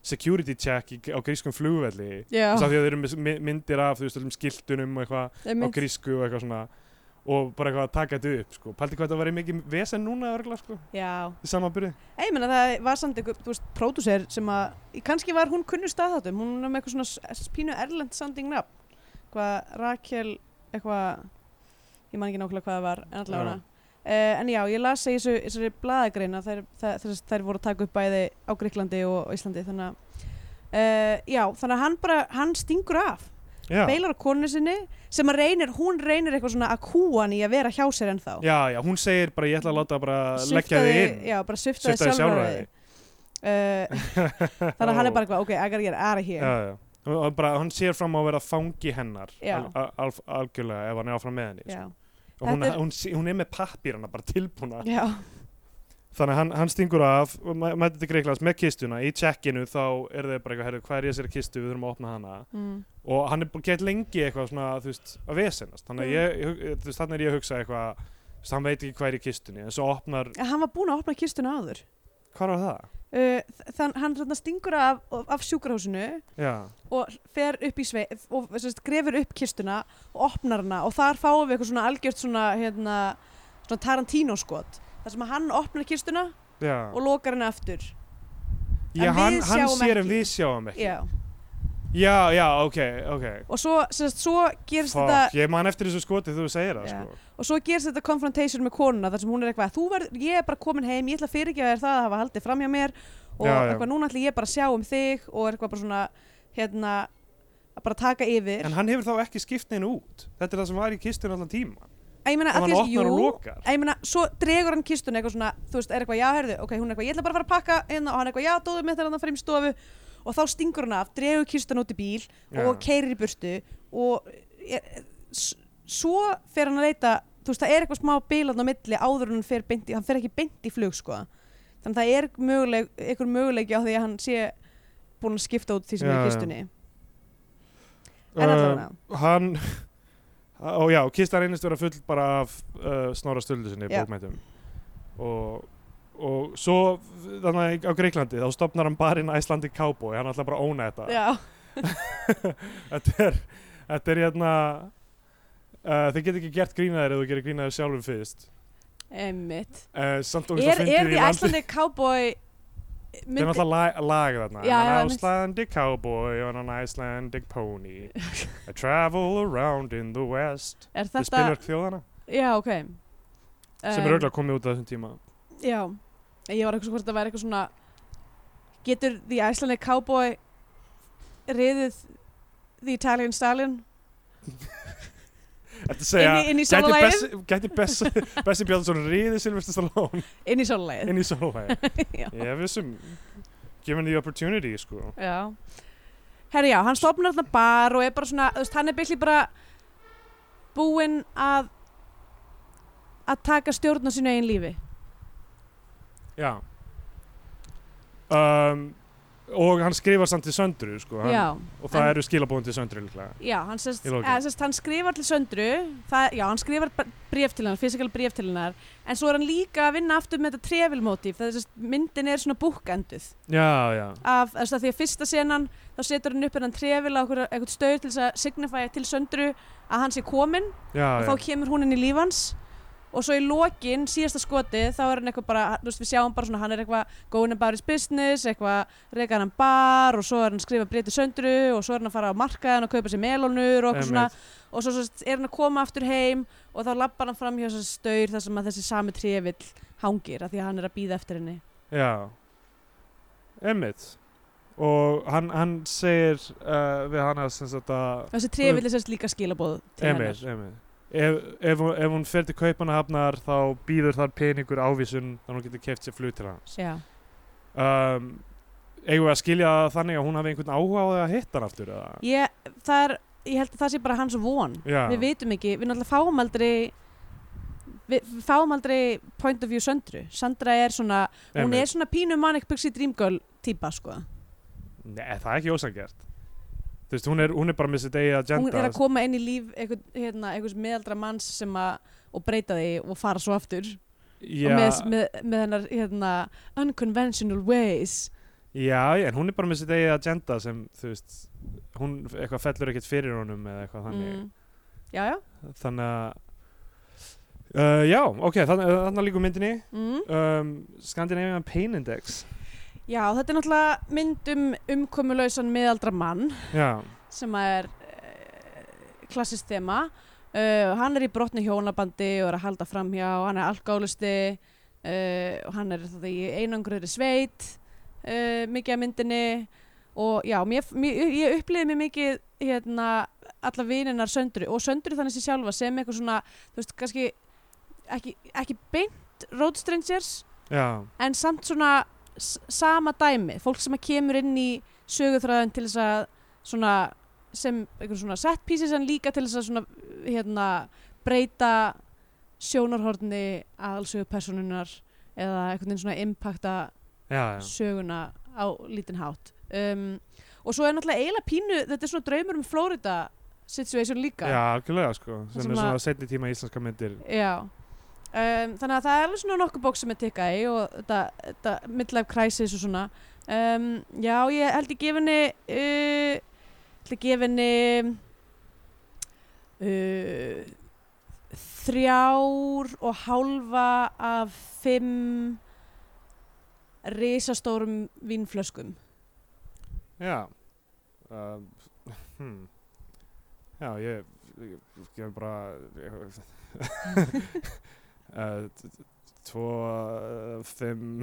Speaker 4: security check í, á grískum flugvelli
Speaker 3: já
Speaker 4: þess að því að þeir eru með my- myndir af þú veist, öllum skiltunum og eitthvað á
Speaker 3: einmitt.
Speaker 4: grísku og eitthvað svona og bara eitthvað að taka þetta upp sko. pældi hvað þetta verið mikið vesen núna örgla sko,
Speaker 3: já,
Speaker 4: í samanbyrði
Speaker 3: Ég meina það var samt einhver, þú veist, pródúser sem að, kannski var hún kunnu staðháttum, hún er með eitthvað svona s- pínu erlend sounding nafn, hvað Rakel, eitthvað, ég man ekki nákvæmlega hvað það var, en allavega hana. en já, ég las í þessu, þessari blaðagreina, þær, þær, þær, þær voru að taka upp bæði á Gríklandi og á Íslandi, þannig að, uh, já, þannig að hann bara, hann stingur af,
Speaker 4: já.
Speaker 3: beilar á konu sinni, sem að reynir, hún reynir eitthvað svona að kúa hann í að vera hjá sér ennþá.
Speaker 4: já, já, hún segir bara ég ætla að láta bara leggja þig
Speaker 3: Svipta þig-
Speaker 4: inn
Speaker 3: já, bara sviftaði
Speaker 4: svipta þig
Speaker 3: sjálfur
Speaker 4: sjálfræði.
Speaker 3: þig uh, þannig að hann er bara eitthvað, ok, I gotta get out of here
Speaker 4: já, já. Og- og Bara, hann sér fram á að vera fangi hennar
Speaker 3: Já.
Speaker 4: al, al, al, algjörlega ef hann er áfram með henni
Speaker 3: já,
Speaker 4: sko. og hún,
Speaker 3: Þetta er-
Speaker 4: hún, sé- hún er með pappir hann bara tilbúna
Speaker 3: já,
Speaker 4: þannig að hann, hann stingur af og mæ- mætir til Greiklands með kistuna í checkinu þá er þau bara eitthvað, herru, hvað er ég sér kistu við þurfum að opna hana
Speaker 3: mm,
Speaker 4: og hann er búin að geta lengi eitthvað svona þú veist, að vesenast þannig
Speaker 3: Mm.
Speaker 4: að ég, ég hug- þú veist, þannig er ég að hugsa eitthvað þú veist, hann veit ekki hvað er í kistunni en svo opnar,
Speaker 3: En hann var búinn að opna kistuna áður
Speaker 4: hvað var það?
Speaker 3: uh, þann, hann þarna stingur af, af sjúkrahúsinu
Speaker 4: Já,
Speaker 3: og fer upp í svei og sérst, grefur upp kistuna og opnar hana og þar fáum við eitthvað svona algjört svona, hérna, svona Tarantino skot þar sem að hann opnar kistuna
Speaker 4: já,
Speaker 3: og lokar hana aftur
Speaker 4: já
Speaker 3: en við
Speaker 4: hann, hann
Speaker 3: sjáum
Speaker 4: sér
Speaker 3: ekki.
Speaker 4: en við sjáum ekki
Speaker 3: já.
Speaker 4: já, já, ok, ok
Speaker 3: og svo, sérst, svo gerist
Speaker 4: Fuck,
Speaker 3: þetta
Speaker 4: ég man eftir þessu skoti þú segir það
Speaker 3: Já.
Speaker 4: sko.
Speaker 3: og svo gerst þetta confrontation með konuna þar sem hún er eitthvað, þú verð, ég er bara komin heim ég ætla að fyrirgefa þér það að hafa haldið fram hjá mér og
Speaker 4: Já, já.
Speaker 3: eitthvað, núna ætla ég bara að sjá um þig og er eitthvað bara svona, hérna að bara taka yfir,
Speaker 4: en hann hefur þá ekki skipt neina út þetta er það sem var í kistun allan tíma
Speaker 3: að ég meina
Speaker 4: ef hann
Speaker 3: allir-
Speaker 4: opnar og
Speaker 3: jú,
Speaker 4: lokar.
Speaker 3: að ég meina, svo dregur hann kistuna eitthvað svona, þú veist, er eitthvað, já, herðu ok, hún er eitthvað, ég ætla bara að fara að pakka hérna og hann eitthvað, já, dóðu mitt er hann að fara í stofu og þá stingur hann af, dregur kistuna út í bíl
Speaker 4: Já.
Speaker 3: og keirir í burtu og er, s- svo fer hann að leita þú veist það er eitthvað smá bílan á milli áður en hann fer, beint í, hann fer ekki beint í flug sko. þannig það er möguleg, einhver möguleiki á því að hann sé búin að skipta út því sem er
Speaker 4: Já,
Speaker 3: í
Speaker 4: já.
Speaker 3: kistunni en allavega
Speaker 4: uh, hann og já, kistan reynist vera full bara af uh, snára stöldu sinni
Speaker 3: Já.
Speaker 4: bókmættum og, og svo þannig á Greiklandi þá stopnar hann barinn Icelandic Cowboy hann ætla bara að óna þetta
Speaker 3: já,
Speaker 4: þetta er, þetta er hérna uh, þið get ekki gert grínaðir ef þú gerir grínaðir sjálfum fyrst
Speaker 3: emmitt
Speaker 4: uh, samt og
Speaker 3: er, er því
Speaker 4: landi
Speaker 3: æslandi cowboy
Speaker 4: Það er
Speaker 3: myndi,
Speaker 4: náttúrulega lag, lag þarna I'm
Speaker 3: Já, já,
Speaker 4: an
Speaker 3: einmitt.
Speaker 4: Icelandic cowboy on an Icelandic pony I travel around in the west
Speaker 3: er
Speaker 4: Þetta
Speaker 3: þetta
Speaker 4: spilverk þjóðana
Speaker 3: já, ok Um,
Speaker 4: sem er auðvitað komið út á þessum tíma
Speaker 3: já, ég var eitthvað svo hvort það væri eitthvað svona getur því æslandi cowboy riðið the Italian stallion
Speaker 4: Þetta segja
Speaker 3: Inn í- inn í
Speaker 4: gæti
Speaker 3: sólalagið?
Speaker 4: Bessi- Gæti Bessi, Bessi Bjálsson riði Silvestur Stallone
Speaker 3: inn í sólulegið
Speaker 4: inn í sólæði
Speaker 3: já,
Speaker 4: Ég vissum Given the opportunity sko
Speaker 3: já. Herri já, hann stopnar þarna bar og er bara svona, þú veist, hann er byrli bara búinn að að taka stjórn á sínu eigin lífi
Speaker 4: Já um, Og hann skrifar samt til söndru sko hann,
Speaker 3: já,
Speaker 4: Og það
Speaker 3: en-
Speaker 4: eru skilabóðin til söndru líklega
Speaker 3: já, hann sest,
Speaker 4: Í lokin.
Speaker 3: eða, sest hann skrifar til söndru það, já, hann skrifar b- bréf til hennar fysikal bréf til hennar, en svo er hann líka að vinna aftur með þetta trefilmótíf það er sest, myndin er svona búkenduð
Speaker 4: Já, já
Speaker 3: af, þú veist, af því að fyrsta senan þá setur hann upp hennan trefil á einhver- eitthvað stöð til þess að signifæja til söndru að hann sé kominn
Speaker 4: Já, já
Speaker 3: og þá kemur hún inn í lífans og svo í lokin, síðasta skotið þá er hann eitthvað bara, þú veist við sjáum bara svona hann er eitthvað going about his business eitthvað reyka hann bar og svo er hann að skrifa breytið söndru og svo er hann að fara á markaðan og kaupa sér melónur og eitthvað svona og svo, svo er hann að koma aftur heim og þá lappar hann fram hjá þessar staur þar sem að þessi sami trefill hangir af því að hann er að býða eftir henni
Speaker 4: Já Emmitt og hann, hann segir uh, við hana sem sagt að
Speaker 3: þessi trefill er sérst líka skilabóð til
Speaker 4: Emil, Emil ef, ef, hún- ef hún fer til kaupanahafnar þá býður þar peningur ávísun þannig hún getur keft sér flug til hans
Speaker 3: hennar já,
Speaker 4: um, eigum við að skilja það þannig að hún hafi einhvern áhuga á því að hitta hann aftur eða?
Speaker 3: ég, það er, ég held að það sé bara hans von
Speaker 4: Já,
Speaker 3: við vitum ekki, við náttúrulega fáum aldrei við, við fáum aldrei point of view söndru Sandra er svona, hún
Speaker 4: einmitt.
Speaker 3: er svona pínu manic pixie dream girl típa sko
Speaker 4: Nei, það er ekki ósangert Þú veist, hún er, hún er bara með sitt eigið agenda
Speaker 3: hún er að koma inn í líf einhvern, hérna, einhvers meðaldra manns sem að og breyta því og fara svo aftur
Speaker 4: já,
Speaker 3: og með, með, með hennar hérna, unconventional ways
Speaker 4: já, já, en hún er bara með sitt eigið agenda sem, þú veist hún eitthvað fellur ekkert fyrir honum eða eitthvað þannig
Speaker 3: Mm. já, já
Speaker 4: þannig að uh, já, ok, þannig, þannig líku myndinni
Speaker 3: mm.
Speaker 4: um, Scandinavian Pain Index
Speaker 3: já, þetta er náttúrulega mynd um umkomulausan meðaldra mann
Speaker 4: já,
Speaker 3: sem að er uh, klassist þema uh, hann er í brotni hjónabandi og er að halda framhjá hann er alkálusti uh, og hann er það, í einangruðri sveit uh, mikið af myndinni og já, mér, mér, ég upplýði mér mikið hérna, alla vininar söndru og söndru þannig sér sjálfa sem eitthvað svona þú veist, kannski ekki, ekki beint road strangers
Speaker 4: já,
Speaker 3: en samt svona s- sama dæmi, fólk sem að kemur inn í söguþræðin til þess að svona sem einhver svona set pieces en líka til þess að svona hérna breyta sjónarhorni aðalsögu personunar eða einhvern veginn svona impacta
Speaker 4: já, já
Speaker 3: söguna á lítinn hátt um, og svo er náttúrulega eiginlega pínu þetta er svona draumur um Florida situation líka
Speaker 4: Já, algjörlega sko,
Speaker 3: Það
Speaker 4: sem
Speaker 3: sem
Speaker 4: er
Speaker 3: að-
Speaker 4: svona setni tíma íslenska myndir
Speaker 3: Já um, Þannig að það er alveg svona nokkuð bók sem er tikkað í og þetta, þetta midlife crisis og svona um, Já, ég held ég gefinni uh, held ég gefinni uh, þrjár og hálfa af fimm risastórum vínflöskum
Speaker 4: Já um, hmm. Já, ég ég gef bara uh, t- t- tvo uh, fimm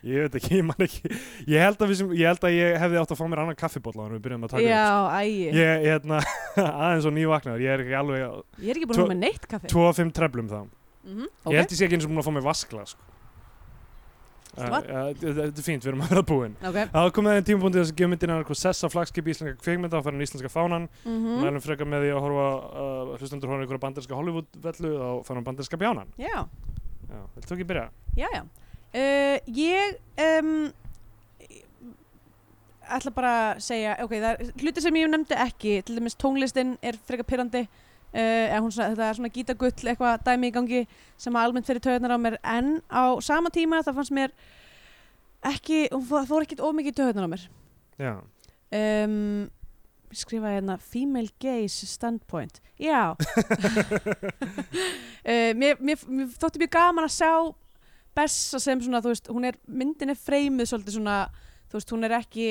Speaker 4: ég veit ekki, ég man ekki ég held að, við sem, ég, held að ég hefði átt að fá mér annan kaffibólla en við byrjum að taka upp.
Speaker 3: Já, ægi
Speaker 4: ég, ég hérna, aðeins og nývaknaður ég er ekki alveg á
Speaker 3: Ég er ekki
Speaker 4: Tvo-
Speaker 3: búin að með neitt kaffi
Speaker 4: tvo og fimm treflum þá
Speaker 3: mm -hmm.
Speaker 4: ég held ég sé ekki eins og búin að fá mér vaskla sko. uh,
Speaker 3: Vatn?
Speaker 4: uh, þetta þetta er fínt, við erum að vera búin
Speaker 3: okay.
Speaker 4: Það er komið að þeim tímapunkti þess að gefa myndina einhver sess af flagskip íslenska kveikmynda og farin íslenska fánan.
Speaker 3: mm
Speaker 4: Mm. Mælum frekar með því að horfa uh, hlustendur horfa á einhverja banderska Hollywood-vellu og farin banderska bjánan.
Speaker 3: Já
Speaker 4: Já, viltu ekki byrja?
Speaker 3: Jæja, uh, ég um, ætla bara að segja, ok, það er hluti sem ég nefndi ekki, til dæmis tónlistin er frekar pyrrandi, uh, eða hún svona, þetta er svona gítagull eitthvað dæmi í gangi sem að almennt fyrir töðunar á mér, en á sama tíma það fannst mér ekki, hún fó- fór ekkit ómikið töðunar á mér.
Speaker 4: Já.
Speaker 3: Um, ég skrifaði hérna female gaze standpoint já uh, mér, mér, mér þótti mjög gaman að sjá Bessa sem svona þú veist hún er, myndin er freymuð svolítið svona þú veist hún er ekki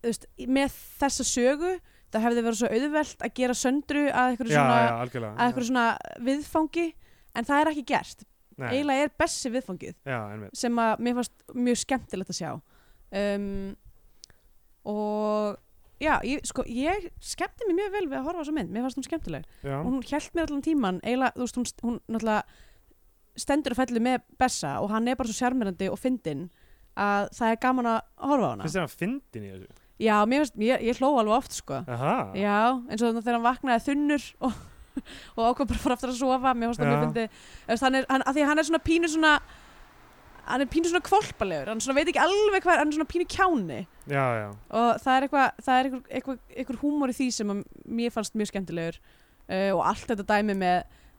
Speaker 3: þú veist, með þessa sögu það hefði verið svo auðvelt að gera söndru að
Speaker 4: Já,
Speaker 3: einhverju svona,
Speaker 4: já, algjörlega.
Speaker 3: að einhverju svona viðfangi en það er ekki gert
Speaker 4: Nei.
Speaker 3: eiginlega er Bessi viðfangið
Speaker 4: Já, einmitt.
Speaker 3: sem að mér fannst mjög skemmtilegt að sjá um, og já, ég, sko, ég skemmti mér mjög vel við að horfa á þessa mynd, mér fannst hún skemmtileg
Speaker 4: Já,
Speaker 3: og hún hjælt mér allan tíman, eiginlega, þú veist, hún, st- hún náttúrulega stendur og fellur með Bessa og hann er bara svo sjarmerandi og fyndinn að það er gaman að horfa á hana
Speaker 4: finnst þér hann fyndin í þessu?
Speaker 3: Já, mér finnst, ég, ég hló alveg oft, sko
Speaker 4: Aha.
Speaker 3: Já, eins og þannig þegar hann vaknaði þunnur og, og ákvað bara að fara aftur að sofa mér fannst það
Speaker 4: Já.
Speaker 3: mjög fyndi hann er, hann, að því að hann er svona pínu svona hann er pínu svona kvolpalegur hann svona veit ekki alveg hvað, er- hann er svona pínu kjáni
Speaker 4: Já, já.
Speaker 3: og það er eitthvað það er eitthvað, eitthvað, eitthvað húmor í því sem að mér fannst mjög skemmtilegur uh, og allt þetta dæmi með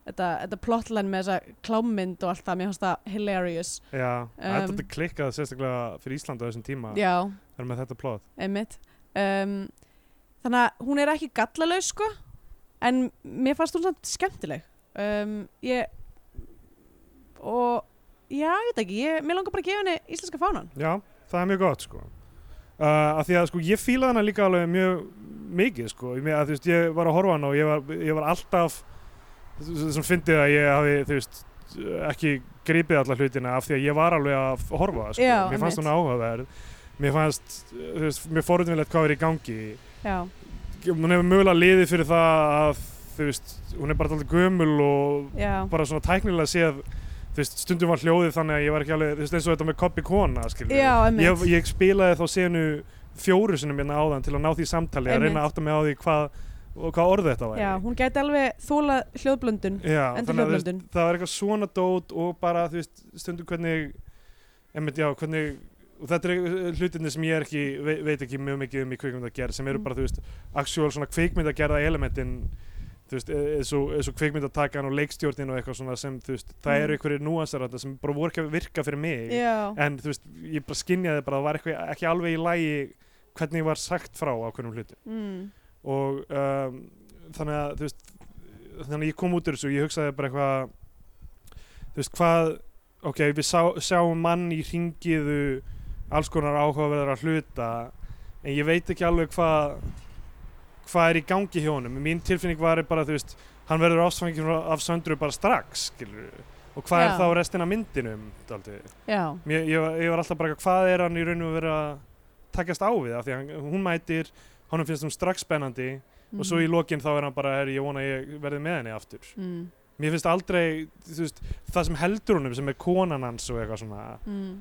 Speaker 3: þetta, þetta plotline með þessa klámynd og allt það, mér fannst það hilarious
Speaker 4: Já,
Speaker 3: Um,
Speaker 4: þetta klikkað sérstaklega fyrir Ísland á þessum tíma.
Speaker 3: Já,
Speaker 4: Það er með þetta plot.
Speaker 3: einmitt um, þannig að hún er ekki gallalaus sko en mér fannst hún samt skemmtileg um, ég og já, ég veit ekki ég, mér langar bara að gefa henni íslenska fánan
Speaker 4: Já, það er mjög gott sko uh, að því að sko ég fílaði hana líka alveg mjög mikið sko ég, að, þú veist, ég var að horfa á hana og ég var, ég var alltaf sem fyndið að ég hafi þú veist ekki gripið alla hlutina af því að ég var alveg að horfa sko.
Speaker 3: Já,
Speaker 4: mér fannst
Speaker 3: einmitt.
Speaker 4: hún áhugaverð mér fannst, þú veist, mér fórhundinlegt hvað er í gangi
Speaker 3: já,
Speaker 4: hún hefur mögulega liðið fyrir það að þú veist, hún er bara alltaf gömul og
Speaker 3: já,
Speaker 4: bara svona tæknilega séð þú þú veist, stundum var hljóðið þannig að ég var ekki alveg, þú veist, eins og þetta með Copy Kona, skilur
Speaker 3: Já,
Speaker 4: ég,
Speaker 3: emmitt
Speaker 4: ég spilaði þá senu fjóru sinum hérna áðan til að ná því samtali að
Speaker 3: Einmitt.
Speaker 4: reyna að átta mig á því hvað, og hvað orðið þetta væri
Speaker 3: Já, hún gæti alveg þóla hljóðblöndun
Speaker 4: Já,
Speaker 3: Endur
Speaker 4: þannig að þú veist,
Speaker 3: hljóðblöndun.
Speaker 4: það var eitthvað svona dót og bara þú veist, stundum hvernig einmitt, já, hvernig og þetta er hlutinni sem ég er ekki ve veit ekki mjög mikið um í kveikmyndagerð sem eru
Speaker 3: Mm.
Speaker 4: bara, þú veist, actual svona kveikmyndagerða elementin, þú veist, e-, eins og, eins og kveikmyndatakan og leikstjórnin og eitthvað svona sem, þú veist, það
Speaker 3: Mm.
Speaker 4: eru einhverjir núansar þarna sem bara voru ekki að virka fyrir mig
Speaker 3: Já,
Speaker 4: en þú veist, ég bara skinjaði bara að það var eitthvað, ekki alveg í lægi hvernig var sagt frá á hvernig hluti
Speaker 3: mm.
Speaker 4: og um, þannig að þú veist, þannig að ég kom út úr þessu og ég hugsaði bara eitthvað þú veist hvað ok, við sá, sjáum mann í ringiðu alls konar áhugaverðar að hluta en ég veit ekki alveg hvað hvað er í gangi hjá honum mín tilfinning var bara þú veist hann verður ástfangin af söndru bara strax skilur og hvað er
Speaker 3: Já.
Speaker 4: þá restin af myndinum daldið
Speaker 3: já,
Speaker 4: Mér, ég, var- ég var alltaf bara eitthvað, hvað er hann í raun og vera að takast á við af því að hann- hún mætir, honum finnst hún strax spennandi og svo í
Speaker 3: Mhm.
Speaker 4: lokin þá er hann bara herri, ég vona að ég verði með henni aftur
Speaker 3: mm.
Speaker 4: mér finnst aldrei, þú veist, það sem heldur honum sem er konan hans og eitthvað svona
Speaker 3: Mm.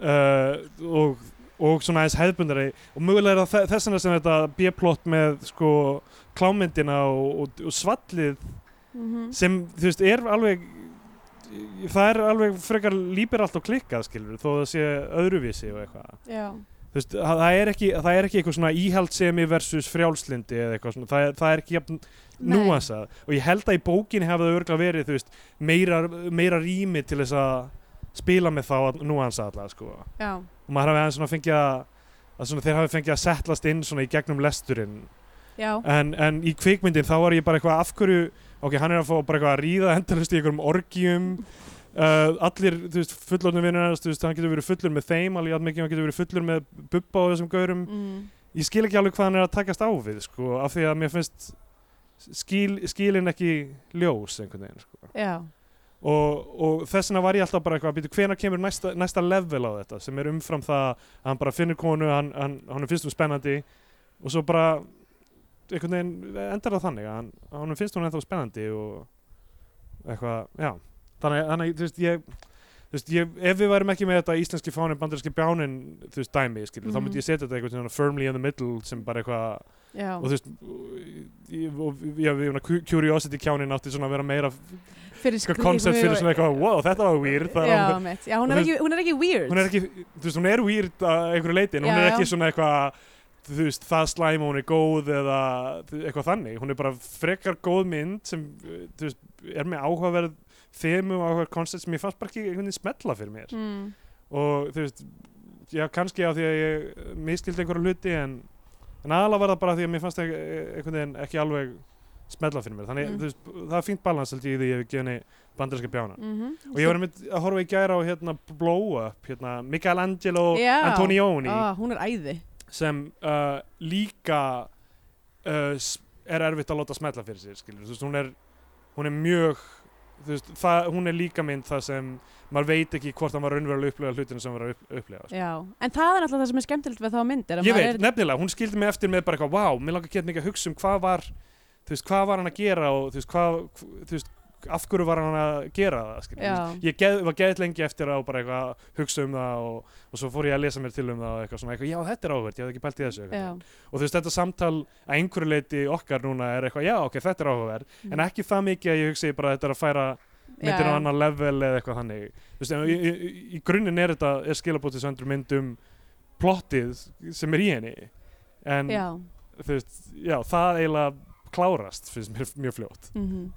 Speaker 4: uh, og, og svona aðeins hefðbundari og mögulega er það þe- þess vegna sem þetta B-plot með sko klámyndina og, og, og svallið
Speaker 3: Mm
Speaker 4: sem þú veist er alveg það er alveg frekar líberalt og klikkað skilur þó það sé öðruvísi og eitthvað
Speaker 3: Já,
Speaker 4: þú veist það það er ekki, það er ekki eitthvað svona íhaldsemi versus frjálslindi eða eitthvað svona það, er- það er ekki jafn
Speaker 3: Nei.
Speaker 4: núansað og ég held að í bókinni hafa það örgla verið þú veist meira, meira rými til þess að spila með þá að núansa alltaf sko og
Speaker 3: já,
Speaker 4: maður hafi aðeins svona fengið að, að svona, þeir hafi fengið að settlast inn svona í gegnum lesturinn
Speaker 3: já
Speaker 4: en, en í kvikmyndin þá var ég bara eitthvað af hverju ok, hann er að fá bara eitthvað að ríða endalust í einhverjum orgjum uh, allir, þú veist, fullorðnum vinnur hans þú veist, hann getur verið fullur með þeim alveg jafn mikið, hann getur verið fullur með bubba og þessum gaurum
Speaker 3: mm.
Speaker 4: ég skil ekki alveg hvað hann er að takast á við sko, af því að mér finnst skil, skilin ekki ljós einhvern veginn, sko
Speaker 3: Já,
Speaker 4: og, og þess vegna var ég alltaf bara eitthvað býtu, hvenær kemur næsta, næsta level á þetta sem er umfram það að hann bara finnur konu hann, hann, hann er fyrst um spennandi og svo bara einhvern veginn endar það þannig að hann, hann finnst hún ennþá spennandi og eitthvað, já þannig, þannig þú veist, ég Þú veist, ég, ef við værum ekki með þetta íslenski fánin, bandarinski bjánin, þú veist, dæmi, skilur, þá
Speaker 3: Mhm.
Speaker 4: myndi ég setja þetta einhvern veginn firmly in the middle sem bara eitthvað
Speaker 3: já
Speaker 4: og þú veist, ég, og, já, við, svona, curiosity kjánin átti svona að vera meira
Speaker 3: Fyrir
Speaker 4: eitthvað koncept Sko, fyrir svona eitthvað, wow, þetta var weird það er
Speaker 3: Já,
Speaker 4: alveg-
Speaker 3: mitt, já,
Speaker 4: og
Speaker 3: hún er
Speaker 4: þú
Speaker 3: ekki, hún er ekki weird
Speaker 4: hún er ekki, þú veist, hún er weird að einhverju leiti, en hún
Speaker 3: Já,
Speaker 4: er ekki
Speaker 3: já.
Speaker 4: svona eitthvað þú veist, það slæm og hún er góð eða þú- eitthvað þannig, hún er bara frekar góð mynd sem, uh, þú veist, er með áhugaverð þemu og áhugaverð koncept sem ég fannst bara ekki einhvern veginn smetla fyrir mér
Speaker 3: mm.
Speaker 4: og þú veist, já, kannski á því að ég miskildi einhverju hluti en, en aðalega var það bara því að mér fannst það e-, einhvern veginn ekki alveg smetla fyrir mér, þannig,
Speaker 3: Mm.
Speaker 4: þú veist, það er fínt balans held ég í því að ég hef gefið henni bandarinska bjána
Speaker 3: Mm
Speaker 4: og ég var einmitt að horfa í gæra á hérna Blow Up, hérna Michelangelo
Speaker 3: Já.
Speaker 4: Antonioni
Speaker 3: ah, Hún er æði
Speaker 4: sem uh, líka uh, s- er erfitt að láta smetla fyrir sér, skilur, þú veist, hún er hún er mjög, þú veist það, hún er líka mynd það sem maður veit ekki hvort hann var raunverulega að upplega hlutinu sem hann var að upp, upplega,
Speaker 3: Já, en það er alltaf það sem er skemmtilegt við þá mynd er að
Speaker 4: ég
Speaker 3: maður
Speaker 4: veit, nefnilega, hún skildi mig eftir með bara eitthvað, wow, mér langar að geta mikið að hugsa um hvað var, þú veist, hvað var hann að gera og þú veist, hvað, þú veist, af hverju var hann að gera það, skilur,
Speaker 3: Já,
Speaker 4: ég geð, var geðið lengi eftir að bara eitthvað að hugsa um það og, og svo fór ég að lesa mér til um það og eitthvað svona, eitthvað, já þetta er áhugavert, ég hafði ekki pælt í þessu eitthvað.
Speaker 3: já,
Speaker 4: og þú veist þetta samtal að einhverju leiti okkar núna er eitthvað, já ok, þetta er áhugavert
Speaker 3: Mm.
Speaker 4: en ekki það mikið að ég hugsi bara að þetta er að færa myndir á
Speaker 3: Já.
Speaker 4: annan level eða eitthvað þannig þú veist, en í, í, í grunninn er þetta er skilabótið söndur myndum plottið sem er í henni en
Speaker 3: já
Speaker 4: þú veist, já, það eiginlega klárast finnst mér mjög fljótt,
Speaker 3: mm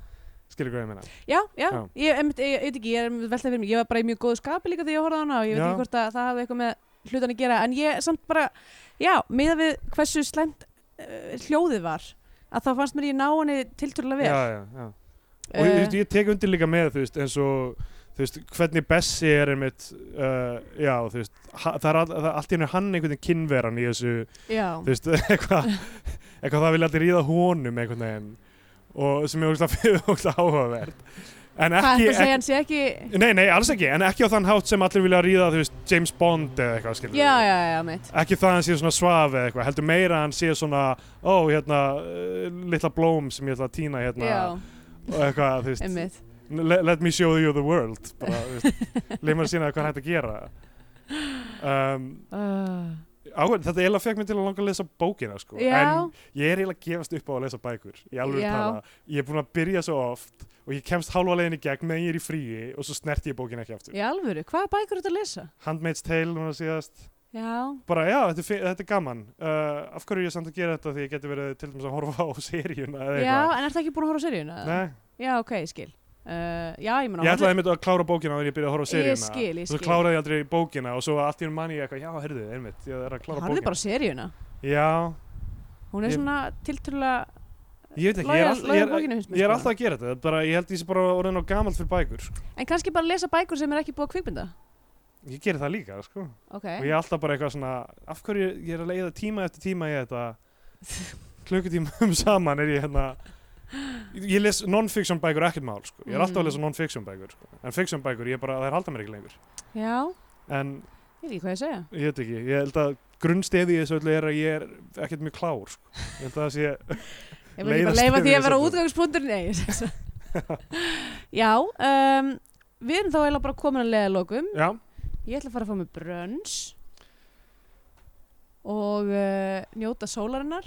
Speaker 4: skilur hvað ég meina
Speaker 3: Já, já,
Speaker 4: Já.
Speaker 3: Ég, einmitt, ég, ég veit ekki, ég er einmitt veltað fyrir mig, ég var bara í mjög góðu skapi líka þegar ég horfði á hana og ég veit
Speaker 4: Já.
Speaker 3: ekki hvort að það hafði eitthvað með hlutan að gera en ég samt bara, já, miða við hversu slæmt uh, hljóðið var að þá fannst mér ég ná henni tiltrúlega vel Eh,
Speaker 4: já, já, já. og uh, veist, ég tek undir líka með þú veist, eins og þú veist, hvernig Bessi er einmitt uh, já, þú veist, ha- það er, all, það er allt í hennu hann einhvern veginn kynveran í þessu
Speaker 3: já,
Speaker 4: þú veist, eitthvað eitthvað það vilja allir ríða honum einhvern veginn og sem er ógæslega áhugavert en
Speaker 3: hvað
Speaker 4: ekki,
Speaker 3: þetta segja hann sé ekki
Speaker 4: ekki nei, nei, alls ekki, en ekki á þann hátt sem allir vilja ríða, þú veist, James Bond eða eitthvað, skilur
Speaker 3: Já, já, já, mitt
Speaker 4: ekki það að hann sé svona svaf eða eitthvað, heldur meira að hann sé svona, ó, hérna uh, litla blóm sem ég ætla að týna hérna
Speaker 3: Já,
Speaker 4: og eitthvað, þú veist
Speaker 3: einmitt
Speaker 4: let, let me show you the world bara, þú veist, leið maður að sína hvað er hægt að gera um,
Speaker 3: Uh,
Speaker 4: áhverjum, þetta eiginlega fekk mér til að langa að lesa bókina sko,
Speaker 3: já,
Speaker 4: en ég er eiginlega að gefast upp á að lesa bækur, ég alveg
Speaker 3: Já.
Speaker 4: tala ég er búin að byrja svo oft og ég kemst hálfa leiðin í gegn meðan ég er í fríi og svo snert ég bókina ekki aftur
Speaker 3: í alvöru, hvaða bækur eru þetta að lesa?
Speaker 4: Handmaid's Tale núna síðast
Speaker 3: Já,
Speaker 4: bara já, þetta er, fi- þetta er gaman uh, af hverju er ég samt að gera þetta því ég geti verið til dæmis að horfa á seríuna eða
Speaker 3: já,
Speaker 4: eitthvað
Speaker 3: en ertu ekki búin að horfa á seríuna?
Speaker 4: Nei,
Speaker 3: Já, ok, ég skil. Uh, já, ég meina,
Speaker 4: ég
Speaker 3: hún-
Speaker 4: ætlaði einmitt að klára bókina þegar ég byrjaði að horfa á
Speaker 3: Ég
Speaker 4: seríuna
Speaker 3: skil, ég
Speaker 4: og svo
Speaker 3: skil.
Speaker 4: kláraði ég aldrei bókina og svo allt í enn manni ég eitthvað, já, herðu, einmitt ég er að klára
Speaker 3: horfðu
Speaker 4: bókina
Speaker 3: bara á seríuna.
Speaker 4: Já,
Speaker 3: Hún er
Speaker 4: Ég-
Speaker 3: svona tilturlega,
Speaker 4: ég veit ekki, ég er,
Speaker 3: Loyal-
Speaker 4: all,
Speaker 3: loyal
Speaker 4: ég er,
Speaker 3: bókinu finnst mér
Speaker 4: ég er
Speaker 3: sko.
Speaker 4: alltaf að gera þetta bara, ég held ég sé bara orðin á gamalt fyrir bækur sko.
Speaker 3: en kannski bara lesa bækur sem er ekki búið að kvikmynda.
Speaker 4: ég geri það líka, sko
Speaker 3: Ok,
Speaker 4: og ég er alltaf bara eitthvað svona, af hverju ég er að leiða tíma eftir tíma í þetta klukkutíma um saman er ég hérna ég les non-fiction bækur ekkert mál, sko ég er alltaf að
Speaker 3: Mm.
Speaker 4: lesa non-fiction bækur, sko en fiction bækur, ég bara, þær halda mér ekki lengur
Speaker 3: já,
Speaker 4: en
Speaker 3: ég veit ekki hvað ég að segja.
Speaker 4: ég veit ekki, ég held að grunnstefið í þessu öllu er að ég er ekkert mjög klár, sko ég held að það sé
Speaker 3: Ég vil ekki bara
Speaker 4: Leiðast
Speaker 3: leifa
Speaker 4: yfir
Speaker 3: því að
Speaker 4: þessu
Speaker 3: vera
Speaker 4: öllu.
Speaker 3: útgangspunktur Nei, ég segi svo. Já, um, við erum þá eiginlega bara komin að leiða lokum
Speaker 4: Já,
Speaker 3: Ég ætla að fara að fá mig brönns og uh, njóta sólarinnar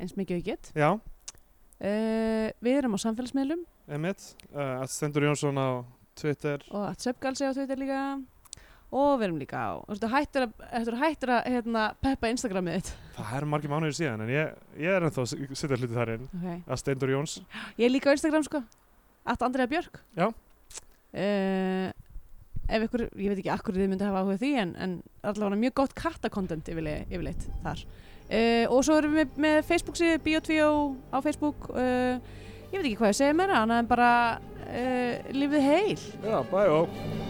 Speaker 3: eins mikið og ég get
Speaker 4: já,
Speaker 3: uh, Við erum á samfélagsmiðlum
Speaker 4: emitt uh, Stendur Jónsson á Twitter
Speaker 3: og að söpgalsi á Twitter líka og við erum líka á Þú ertu hættur að, ertu hættur að hérna, peppa Instagramið þitt
Speaker 4: Það er margir mánuðir síðan en ég, ég er ennþá að s- setja hluti þar inn
Speaker 3: okay.
Speaker 4: að Stendur Jóns
Speaker 3: Ég er líka á Instagram sko At Andrea Björk
Speaker 4: Já.
Speaker 3: Eh, Ef ykkur, ég veit ekki akkur þið myndi hafa áhuga á því en, en allavega mjög gott kattakontent yfirleitt, yfirleitt þar uh, Og svo erum við með Facebook síðu Bíotvíó á Facebook Eh, uh, Ég veit ekki hvað ég segi meira annað en bara uh, Lifið eh, heil
Speaker 4: Já, bæjó